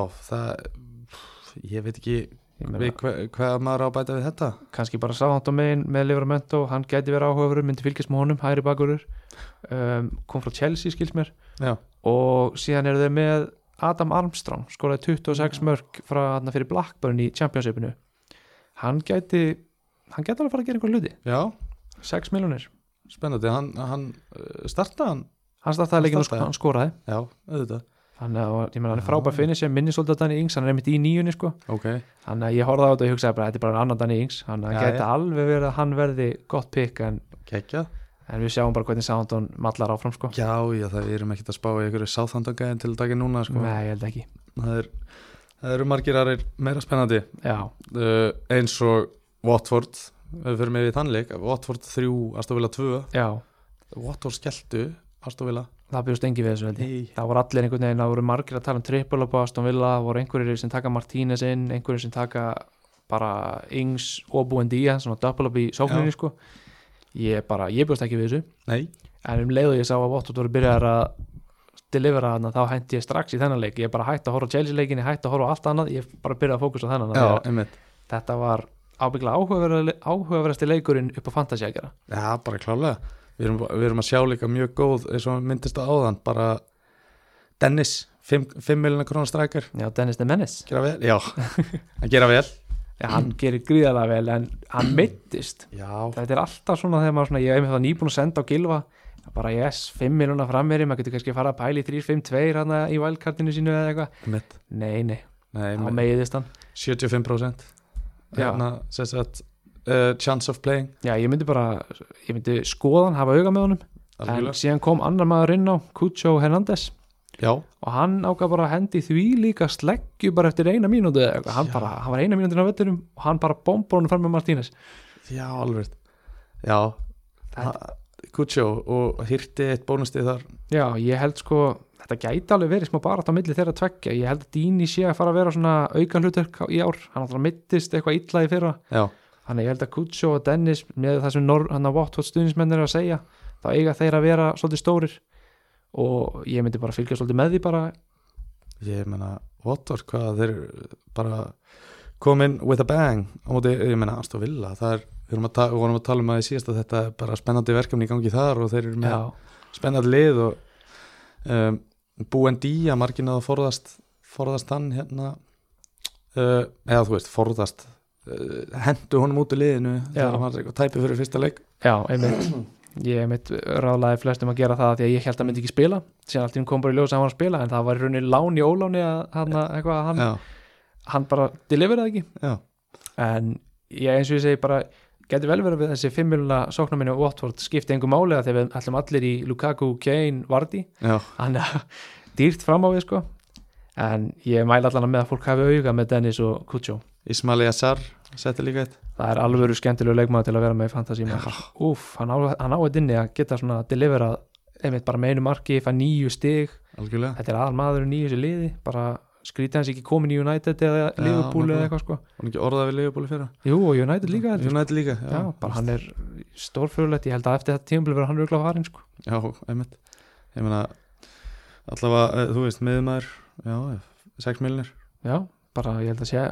A: það ég veit ekki
B: Ég meina,
A: Við, hva, hvað maður á að bæta við þetta?
B: kannski bara sáðan á megin með Livramento, hann gæti verið áhugaveru myndi fylgjast með honum, hægri bakurur um, kom frá Chelsea skils mér
A: Já,
B: og síðan eru þau með Adam Armstrong, skoraði 26 mörg frá hann fyrir Blackburn í Championshipinu hann gæti hann gæti alveg að fara að gera einhver hluti
A: já
B: 6 miljonir
A: spennandi, hann, hann uh, startaði hann
B: hann startaði
A: Hann
B: leikinu og sko-
A: startaði.
B: hann skoraði
A: Já, auðvitað
B: þannig að ég meina hann er
A: Já.
B: frábær finnir sem minni svolítið að Danny Ings, hann er einmitt í nýjunni sko
A: Ok,
B: þannig að ég horfði á þetta og hugsaði bara þetta er bara annan Danny Ings þannig að
A: Já,
B: hann gæti alveg verið að hann verði gott pikk en,
A: kekja
B: en við sjáum bara hvernig Soundon mallar áfram sko
A: Já, já, það við erum ekkert að spá í einhverju sáþandangæðin til dagi núna sko.
B: nei, ég held ekki
A: það, er, það eru margir aðrir meira spennandi
B: já,
A: uh, eins og Eh, Watford ef við fyrir með við þannleik Watford 3, Astovilla 2
B: já,
A: Watford skelltu, Astovilla
B: það byrjast engi við þessu held ég
A: Nei.
B: það voru allir einhvern veginn, það voru margir að tala um triple up á Aston Villa, það voru einhverjir sem taka Martínez inn, einhverjir sem taka bara Ings og Buendía svona double up í sókninni
A: Já.
B: sko ég bara, ég bjóst ekki við þessu
A: Nei,
B: en um leið og ég sá að Watford voru byrjar að delivera hana, þá hætti ég strax í þennan leik ég bara hætti að horfa á Chelsea leikinni, hætti að horfa á allt annað ég bara byrjaði að fókusa á þennan
A: já,
B: Þegar
A: einmitt
B: þetta var ábyggla áhugaverðasti leikurinn upp á fantasíakera
A: Já, bara klálega við erum, við erum að sjá líka mjög góð eins og myndist að áðan, bara Dennis, 5 miljonar krónar strækir
B: já, Dennis de Menes,
A: gera vel, já, að gera vel
B: já, hann gerir gríðarlega vel en hann mittist
A: Já,
B: þetta er alltaf svona þegar maður svona, ég hef með það nýbúin að senda á Gilva bara yes, 5 miljónar frammeiri maður getur kannski að fara að pæli 3-5-2 hann í wildcardinu sínu eða eitthvað
A: einmitt
B: nei, nei,
A: Nei,
B: þá
A: einmitt.
B: meiðist hann
A: 75%
B: Já.
A: hérna, sem sagt, uh, chance of playing
B: já, ég myndi bara, ég myndi skoðan hafa auga með honum En
A: algjörlega.
B: síðan kom annar maður inn á Cucho Hernández
A: Já,
B: og hann ákvað bara að hendi því líka sleggju bara eftir eina mínútu eða eitthvað. hann,
A: Já.
B: bara, hann var eina mínútu inn á vetturum og hann bara bombar honum fram með Martínez
A: já, alveg rétt. Já,
B: Þetta-
A: Kutsjó og hýrti eitt bónustið þar
B: Já, ég held sko, þetta gæti alveg verið smá barat á milli þeirra tveggja, ég held að Dini sé að fara að vera svona aukan hlutverk á- í ár hann alltaf mittist eitthvað illa í fyrra
A: Já,
B: þannig ég held að Cucho og Dennis með það sem Nor hann að Watford stuðnismenn er að segja þá eiga þeir að vera svolítið stórir og ég myndi bara fylgja svolítið með því bara
A: ég meina Votor, hvað þeir eru bara komin with a bang á móti, ég meina Astor Villa það er, við erum að, ta vorum að tala um að í síðast að þetta er bara spennandi verkefni í gangi þar og þeir eru með spennandi lið og um, Buendía margin að forðast forðast hann hérna uh, eða þú veist, forðast uh, hendu honum út í liðinu
B: Já.
A: þegar hann var eitthvað tæpi fyrir fyrsta leik
B: Já, einmitt Ég einmitt ráðlaði flestum að gera það því að ég held að hann myndi ekki spila síðan allt í hún kom bara í ljós að hann var að spila en það var í rauninni lán í óláni að hann, eitthvað, að hann,
A: Já,
B: hann bara deliveraði ekki
A: já,
B: en ég eins og ég segi bara getur vel verið að þessi 5 miljóna sóknarminni og Watford skipti engu máli að þegar við ætlum allir í Lukaku, Kane, Vardy
A: já,
B: hann er dýrt fram á við sko en ég mæla allan með að fólk hafi auga með Dennis og Kucho
A: Ismaili Assar setti líka eitt
B: það er alvöru skemmtilegu leikmaður til að vera með í fantasy maður. Úf, hann á, hann á þetta inni að geta svona deliverað einmitt bara með einu marki, fæ nýju stig
A: algjörlega
B: þetta er aðal maður nýju þessi liði bara skrítið hans ekki komin í United eða Liverpool
A: nákvæmlega.
B: eða eitthvað sko
A: Var hann ekki orðað við Leifubóli fyrra?
B: Jú, og United líka heldur.
A: United líka, já.
B: Já, bara hann er stórfjörulegt, ég held að eftir þetta tímul verður hann röglega farin sko
A: Já, einmitt. Ég meina, allavega, eh, þú veist, miðumæður, já, 6 miljonir.
B: Já, bara ég held að sé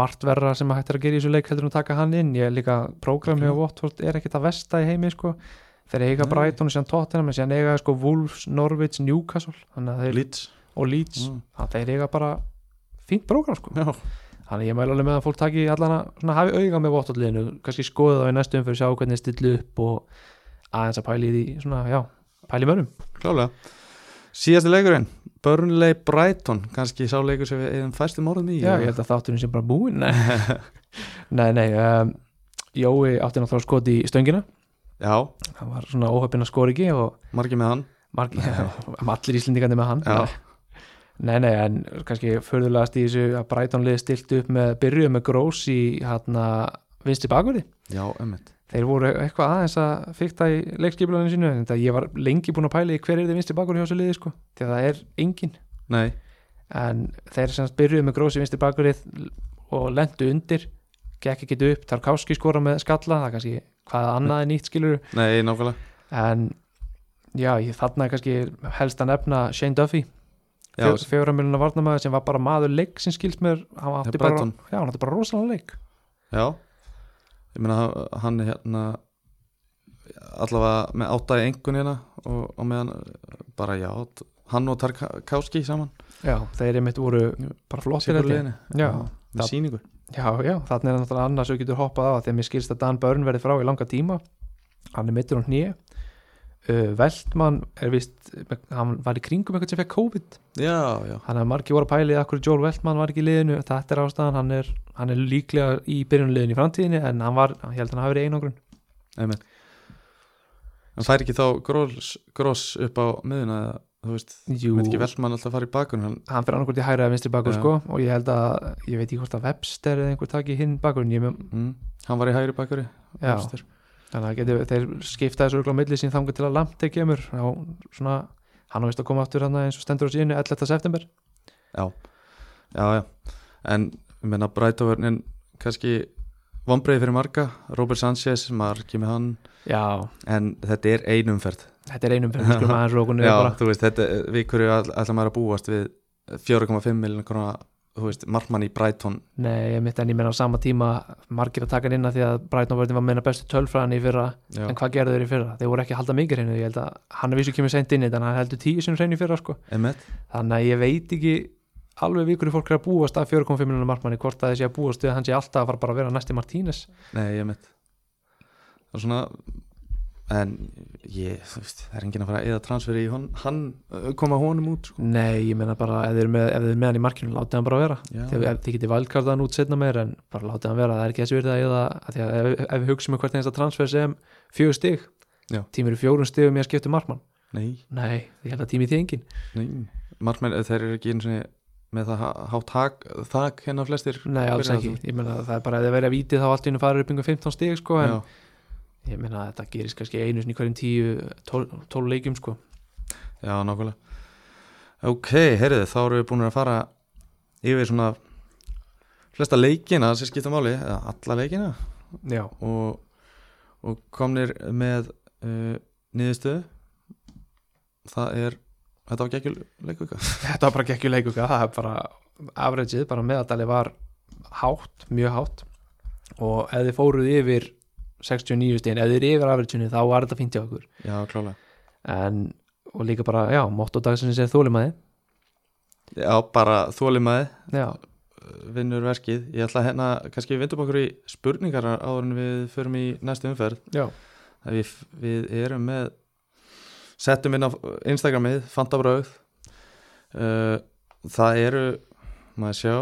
B: margt verra sem að hættir að gera í þessu leik heldur en að taka hann inn, ég er líka prógrami á Watford er ekkit að vesta í heimi sko þeir eiga
A: Nei.
B: Brighton og síðan Tottenham en síðan eiga þeir, sko Wolves, Norwich, Newcastle þannig að þeir,
A: Leeds.
B: og Leeds
A: Mm.
B: þannig að þeir eiga bara fínt prógram sko
A: Já,
B: þannig að ég mæla alveg með að fólk taki allan að svona, hafi auga með Watford liðinu, kannski skoða það í næstum fyrir að sjá hvernig þeir stillu upp og aðeins að pæli í því, svona, já, pæli mönnum
A: klálega. Síðasti leikurinn, Burnley Brighton, kannski sá leikur sem við eðum fæstum orðum í.
B: Já,
A: eða?
B: ég held að þátturinn sem bara búinn Nei, nei, nei um, Jói átti náttúrulega skot í stöngina
A: Já,
B: hann var svona óhöfinn að skora ekki og
A: margir með hann.
B: marg, allir íslendingandi með hann
A: Já.
B: Nei, nei, en kannski förðulegast í þessu að Brighton liði stilt upp með byrjuð með grós í hérna vinstri bakverði
A: Já, einmitt.
B: Þeir voru eitthvað aðeins að fykta í leikskipulunum sínu en þetta ég var lengi búin að pæla í hver er þið vinstri bakverði hjá þessu liði sko því að það er engin
A: Nei,
B: en þeir sem sagt byrjuðu með grósi vinstri bakurið og lendu undir gekk ekki upp, þar Káski skora með skalla það er kannski hvað annað er nýtt skilur
A: nei, nákvæmlega.
B: en já, ég, þarna er kannski helst að nefna Shane Duffy
A: Já,
B: fjóramilina varnamæður sem var bara maður leik sem skilst mér, hann átti
A: Þegar
B: bara,
A: Brighton.
B: já, hann átti bara rosalega leik
A: já. Ég meina, hann- hann er hérna allavega með áttaði engun hérna og, og með hann bara, já, hann og Tarkowski saman.
B: já, þeir einmitt voru bara flottir
A: Sigur
B: held ég.
A: liðinu.
B: Já.
A: Með
B: Það-
A: síningu.
B: já, já, þarna er náttúrulega annars sem getur hoppað á þegar mér skilst að Dan Börn verði frá í langa tíma hann er mittur á hnýja uh, Veltmann er vist hann var í kringum eitthvað sem fekk COVID
A: Já, já.
B: Þannig að margir voru að pæli að hverju Joel Veltmann var ekki í liðinu, þetta er ástæðan, hann er, hann er líklega í byrjunliðinu í framtíðinni en hann var, ég held að hann hafi verið í einangrun.
A: Einmitt. En fær ekki þá gross, gross upp á miðuna eða þú veist,
B: Jú,
A: veit ekki Veltmann alltaf að fara í bakun hann,
B: hann fyrir annarkvort í hægra eða vinstri bakur
A: Já.
B: sko og ég held að, ég veit ekki hvort að Webster eða einhver taki hinn bakurinn, ég með
A: mm, hann var í hægri bakuri
B: já, þannig að geti, þeir skipta þessu örugglega á milli sín þangar til að Lamptey kemur á svona, hann á vist að koma aftur hann eins og stendur á síðinu 11. september
A: já, já. en ég meina Brætovörnin kannski vonbreiði fyrir marga Robert Sanchez, maður ekki með hann
B: Já,
A: en þetta er einumferð
B: þetta er einum fyrir við skulum aðeins rókunni
A: já,
B: bara
A: þú veist, þetta, við hverju all, allar maður að búast við 4,5 miljonar krona, þú veist, markmann í Bræton
B: Nei, ég mitt en ég menna á sama tíma margir að taka hann inn að því að Brighton vörðin var meina bestu tölfræðan í fyrra
A: já,
B: en hvað gerðu þeir í fyrra? Þeir voru ekki að halda mikið hreinu ég held að hann er vissu kemur seint inn í þetta en hann heldur tíu sem hreinu í fyrra sko
A: emmett
B: þannig að ég veit ekki alveg við hverju fólk er að búast að 4.5 miljonar markmanni hvort að þessi að búast við að hann sé alltaf að fara bara að vera næsti Martínez
A: nei, emmett það er svona en ég, þú veist, það er enginn að fara eða transferi í hon, hann, ö, koma honum út sko.
B: Nei, ég meina bara ef þeir eru með, ef þeir eru með hann í markinu látið hann bara vera
A: já,
B: þegar ef þið getið valkartað hann út setna meir en bara látið hann vera, það er ekki þessi verið að eða að því að ef, ef við hugsaum um hvert einasta transfer sem fjögur stig,
A: Já. tímir
B: tímir í fjórun stigum ég að skipta um markmann,
A: nei
B: nei, ég held að tími í því engin
A: Nei, markmenn, eh, þeir eru ekki eins og með það ha- hátt hak, þak hennar flestir sko.
B: nei, alls
A: Byrjar
B: ekki,
A: þú?
B: ég meina það er bara ef þeir verið að víti þá allt í hennu farið upp yngur 15 stig sko, en
A: Já,
B: ég meina þetta gerist kannski einu sinni í hverjum 10 12 leikjum sko
A: já, nákvæmlega Ok, heyrðu, þá erum við búin að fara yfir svona flesta leikina sem skipta máli eða alla leikina
B: Já,
A: og, og komnir með uh, niðurstöðu það er þetta var ekki leikvika
B: þetta var bara ekki leikuga það er bara afræðið, bara meðaldali var hátt, mjög hátt og ef þið fóruð yfir 69 stein, ef þið eru yfir afræðinu þá var þetta fínt hjá okkur
A: Já, klálega
B: en, og líka bara, já, motto dagsins er þólimaði
A: Já, bara þólimaði
B: já,
A: vinnur verkið ég ætla að hérna, kannski við vindum okkur í spurningar áður en við förum í næstu umferð
B: já,
A: að við, við erum með settum inn á Instagramið Fantabraugð uh, það eru maður sjá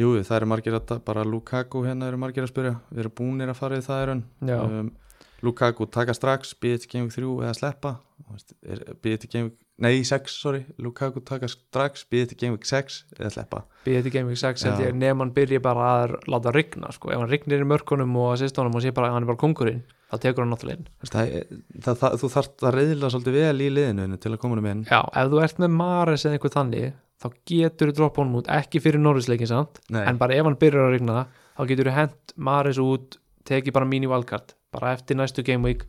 A: jú það eru margir að bara Lukaku hérna eru margir að spyrja við erum búnir að fara í það erun
B: já,
A: um, Lukaku taka strax býðið til Gaming 3 eða sleppa Þú veist, er- býðið til Gaming nei 6 sorry Lukaku taka strax býðið til Gaming 6 eða sleppa
B: býðið til Game Week 6 held
A: Já.
B: ég nefn hann byrji bara að láta rigna sko, ef hann rignir í mörkunum og sýstónum og sé bara að hann er bara kongurinn þá tekur hann náttúrulega inn
A: Þú veist, það, það, það, þú þarft að reyðla svolítið vel í liðinu þínu til að koma um inn
B: já, ef þú ert með Mares eða einhver þannig þá getur þú droppa honum út, ekki fyrir Norrisleikin samt
A: Nei,
B: en bara ef hann byrjar að rigna þá getur þú hent Maris út tekið bara mín í valkart bara eftir næstu game week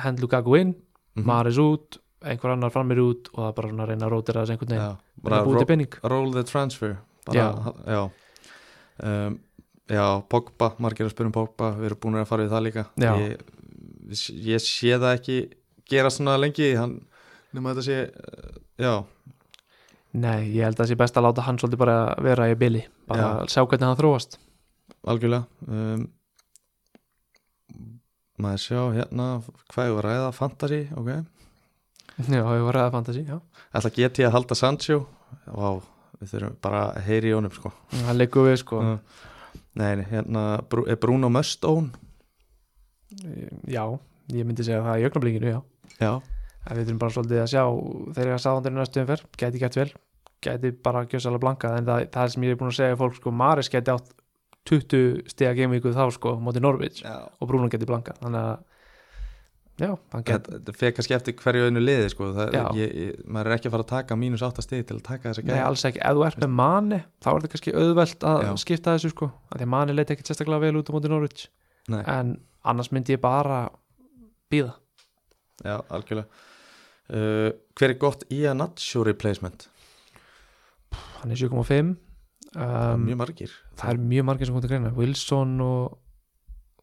B: hent Lukaku inn,
A: Mhm.
B: Maris út einhver annar framir út og það er bara svona að reyna að rótira þess einhvern veginn,
A: já,
B: reyna
A: bara
B: að búið
A: ro
B: til penning
A: roll the transfer bara,
B: Já.
A: já. Um, já, Pogba, margir að spyrja um Pogba við erum búin að fara við það líka
B: Já.
A: ég, ég sé það ekki gera svona lengi hann, nema þetta sé uh, já,
B: Nei, ég held að það sé best að láta hann svolítið bara vera í bili, bara sjá hvernig hann þróast
A: algjörlega um, maður sjá hérna hvað ég var að ræða, fantasy ok,
B: Já, ég var ræða fantasi, já
A: ætla get ég að halda Sancho vá, við þurfum bara að heyri í honum sko
B: Það leikur við sko,
A: Já. Nei, nei, hérna, Bru- er Bruno Möstón
B: já ég myndi segja það í augnablikinu, já
A: já,
B: En við þurfum bara svolítið að sjá þegar ég að sáðandur í næstu umferð, gæti gætt vel gæti bara gjössalega blankað en það, það sem ég er búin að segja fólk sko, Maris gæti átt 20 stiga gamevíkuð þá sko, móti Norvits
A: já
B: og Bruno gæti blankað þannig að já, hann gæti
A: þetta þetta fer kannski eftir hverju einu liði sko. það,
B: Já.
A: ég, ég, maður er ekki að fara að taka mínus 8 stegi til að taka þessa
B: Nei,
A: gæja
B: alls ekki, ef þú ert með manni þá er þetta kannski auðvelt að
A: Já.
B: skipta þessu sko, af því að manni leiti ekki sérstaklega vel út á móti Norvits,
A: Nei.
B: en annars myndi ég bara býða
A: já, algjörlega uh, hver er gott í að nacho replacement
B: Um, hann er 7,5
A: það er
B: um,
A: mjög margir
B: það er mjög margir sem kom til greina Wilson og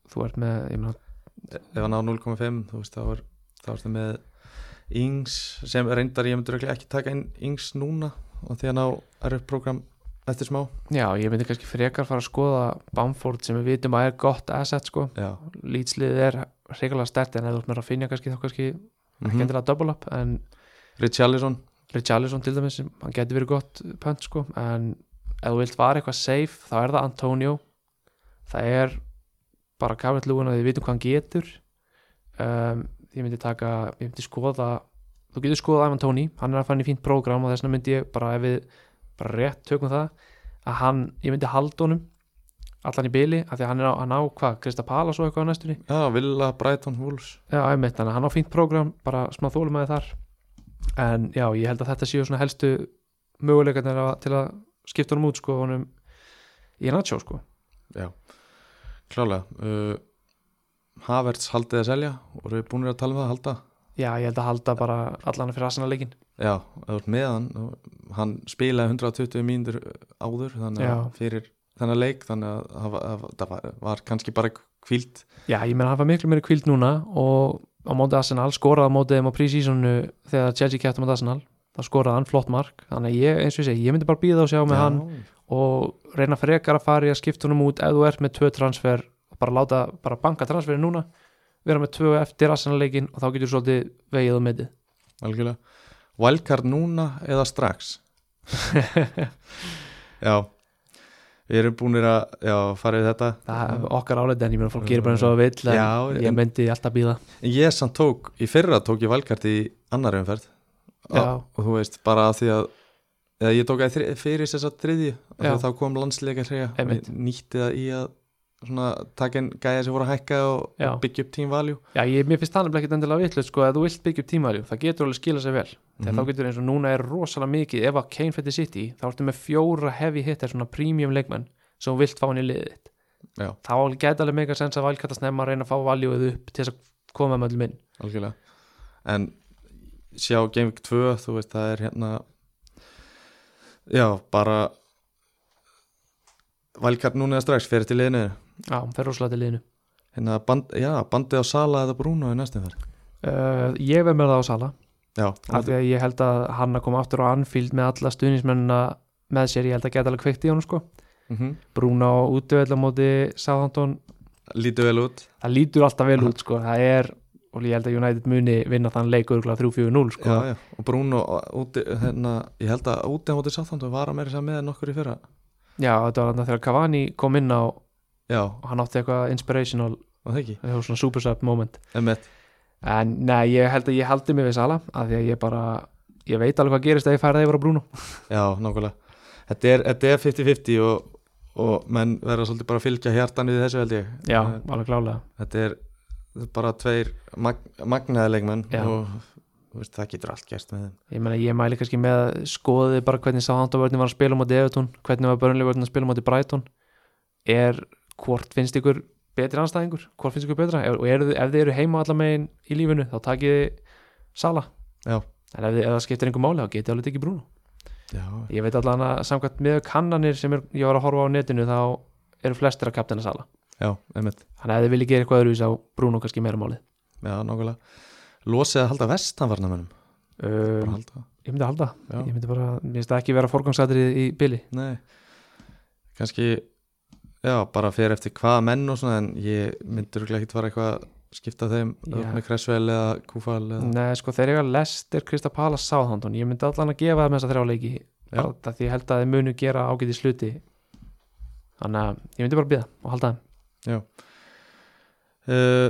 B: þú ert með, ég meina
A: ef hann á 0,5 þú veist þá er þá ertu með Ings sem reyndar ég myndur ekki taka inn Ings núna og því að ná er upp program eftir smá
B: Já, ég myndi kannski frekar fara að skoða Bamford sem við vitum að er gott asset sko.
A: já,
B: Lýtslið er hrikalega stert en ef þú ert með að finja kannski þá kannski mm -hmm.
A: mhm.
B: gendilega double up en
A: Richarlison
B: Richarlison til dæmis, hann geti verið gott pönt sko en ef þú vilt vara eitthvað safe þá er það Antonio það er bara kafið lúin að við vitum hvað hann getur um, ég myndi taka, ég myndi skoða þú getur skoðað Ivan Tóni, hann er að fara inn í fínt prógram og þess vegna myndi ég bara ef við bara rétt tökum það að hann, ég myndi halda honum allan í byli, af því að hann er á, hann á hvað, Krista Palas og eitthvað á næstunni
A: Já, Villa, Brighton, Wolves
B: Já, einmitt, þannig að hann á fínt prógram, bara smá þólumæði þar en já, ég held að þetta séu svona helstu möguleikarnir að- til að skipta honum út sko, honum í Nacho sko
A: Klálega uh, Havertz haldið að selja og eru búinir að tala um það að halda
B: Já, ég held að halda bara allan fyrir asanarleikin
A: Já, ef þú ert með hann og hann spilaði 120 mínútur uh, áður þannig að
B: Já.
A: fyrir þennan leik þannig að það var- að það var, var kannski bara kvíld
B: Já, ég meina hann var miklu meiri kvíld núna og á móti Arsenal, skoraði á móti þeim á prísísonu þegar Chelsea kæfti á móti Arsenal þá skoraði hann flott mark þannig að ég, eins og ég segi, ég myndi bara býða og sjá með hann og reyna frekar að fara í að skipta honum út ef þú ert með tvö transfer og bara láta, bara banka transferin núna vera með tvö eftir Arsenal-leikin og þá getur svolítið vegið og metið
A: Algjörlega Wildcard núna eða strax Já Við erum búinir að já, fara við þetta
B: það er okkar áleita en ég meina fólk gerir bara eins og það vill en
A: Já,
B: ég
A: en-
B: myndi alltaf býða
A: En ég samt tók, í fyrra tók ég valkart í annar umferð
B: Já.
A: og, og þú veist bara að því að eða ég tók að þri, fyrir þess að þriðju og
B: Já.
A: þegar þá kom landsleika hreja
B: Einmitt.
A: nýtti það í að svona, taka inn gæja sem voru að hækka og
B: Já.
A: byggja upp team value
B: Já, ég, mér finnst það nefnilega ekkert endilega vitlega sko að þú vilt byggja upp tímaljú, það getur alveg skila sér vel þegar
A: Mhm.
B: þá getur eins og núna er rosalega mikið ef að Kane fætti sitt í, þá ertu með fjóra heavy hittar svona premium leikmenn sem þú vilt fá hann í liðið þitt.
A: Já.
B: þá geta alveg mega sens að valkata snemma að reyna að fá valjúið upp til þess að koma með öllum inn
A: algjörlega en sjá Game Week 2 þú veist það er hérna já bara valkart núna eða strax fyrir til liðinu
B: Já, það er rosalega til liðinu
A: hérna band, já, bandið á Sala eða Bruno í næstum þar
B: uh, Ég verð með það á Sala
A: já,
B: af því að ég held að hann að koma aftur á Anfield með alla stuðnismennina með sér, ég held að geta alveg kveikt í honum sko
A: mhm.
B: Brúna á útöfellamóti Southampton
A: lítið vel út
B: það lítur alltaf vel út sko. það er, og ég held að United muni vinna þann leik örgulega 3-4-0 sko.
A: já, já. og Bruno úti, hérna, ég held að úti á móti sáþandu var að meira sér með en okkur í fyrra
B: já, þetta var þarna þegar Cavani kom inn á og
A: já, og
B: hann átti eitthvað inspirational
A: það ekki,
B: það var svona supersub moment
A: emmett
B: en nei, ég held að ég haldi mig við Sala af því að ég bara, ég veit alveg hvað gerist ef ég færði yfir á Bruno
A: já, nákvæmlega þetta er þetta er 50-50 og, og menn verða svolítið bara að fylgja hjartan við þessu held ég
B: já,
A: Eh,
B: alveg klálega
A: þetta er bara tveir mag, magnaði leikmenn
B: Já.
A: og þú veist, það getur allt gerst með þeim
B: ég meina, ég mæli kannski með að skoði bara hvernig Southampton var að spila á móti Evertón hvernig var Burnley vörðin að spila á móti Brighton er, hvort finnst ykkur betri anstæðingur, hvort finnst ykkur betra Ef- og er, ef þið eru heima allar megin í lífinu þá takið þið Sala
A: Já.
B: en ef, þið- ef það skiptir einhver máli þá getið alveg ekki Bruno
A: já,
B: ég veit allan að samkvæmt með kannanir sem er, ég var að horfa á netinu þá eru flestir að kaptena Sala
A: já, emmett
B: þannig að ef þið viljið gera eitthvað öðruvísi á Bruno kannski meira máli
A: já, nákvæmlega losið að halda vestanvarnamennum bara
B: um,
A: halda
B: ég myndi halda,
A: Já.
B: ég myndi bara mér finnst það ekki vera forgangsatrið í byli
A: Nei, kannski já, bara fyrir eftir hvaða menn og svona en ég myndur ekki fara eitthvað að skipta þeim
B: Já.
A: upp með Kressvel eða Kúfal eða
B: Nei, sko, þegar ég að Lester Krista Pala Southampton, ég myndi allan að gefa þeim þessa þrjá leiki,
A: Já.
B: bara það því ég held að þeim munu gera ágæti sluti þannig að ég myndi bara býða og halda þeim
A: uh,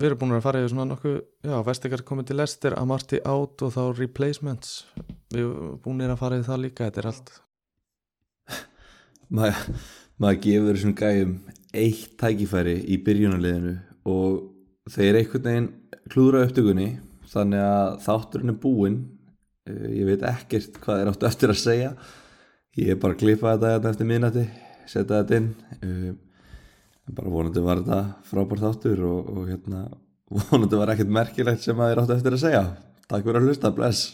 A: Við erum búin að fara yfir svona nokkuð, já, Vestekar komið til Lester Amarty out og þá replacements Við erum búin að fara yfir það líka þetta er allt
C: Ma, maður gefur þessum gæjum eitt tækifæri í byrjunarliðinu og þeir einhvern veginn klúðra upptökunni þannig að þátturinn er búinn Eh, ég veit ekkert hvað er áttu eftir að segja ég er bara að klippa þetta hérna eftir minnati setja þetta inn Eh, en bara vonandi var þetta frábær þáttur og, og hérna vonandi var ekkert merkilegt sem að er áttu eftir að segja takk fyrir að hlusta, bless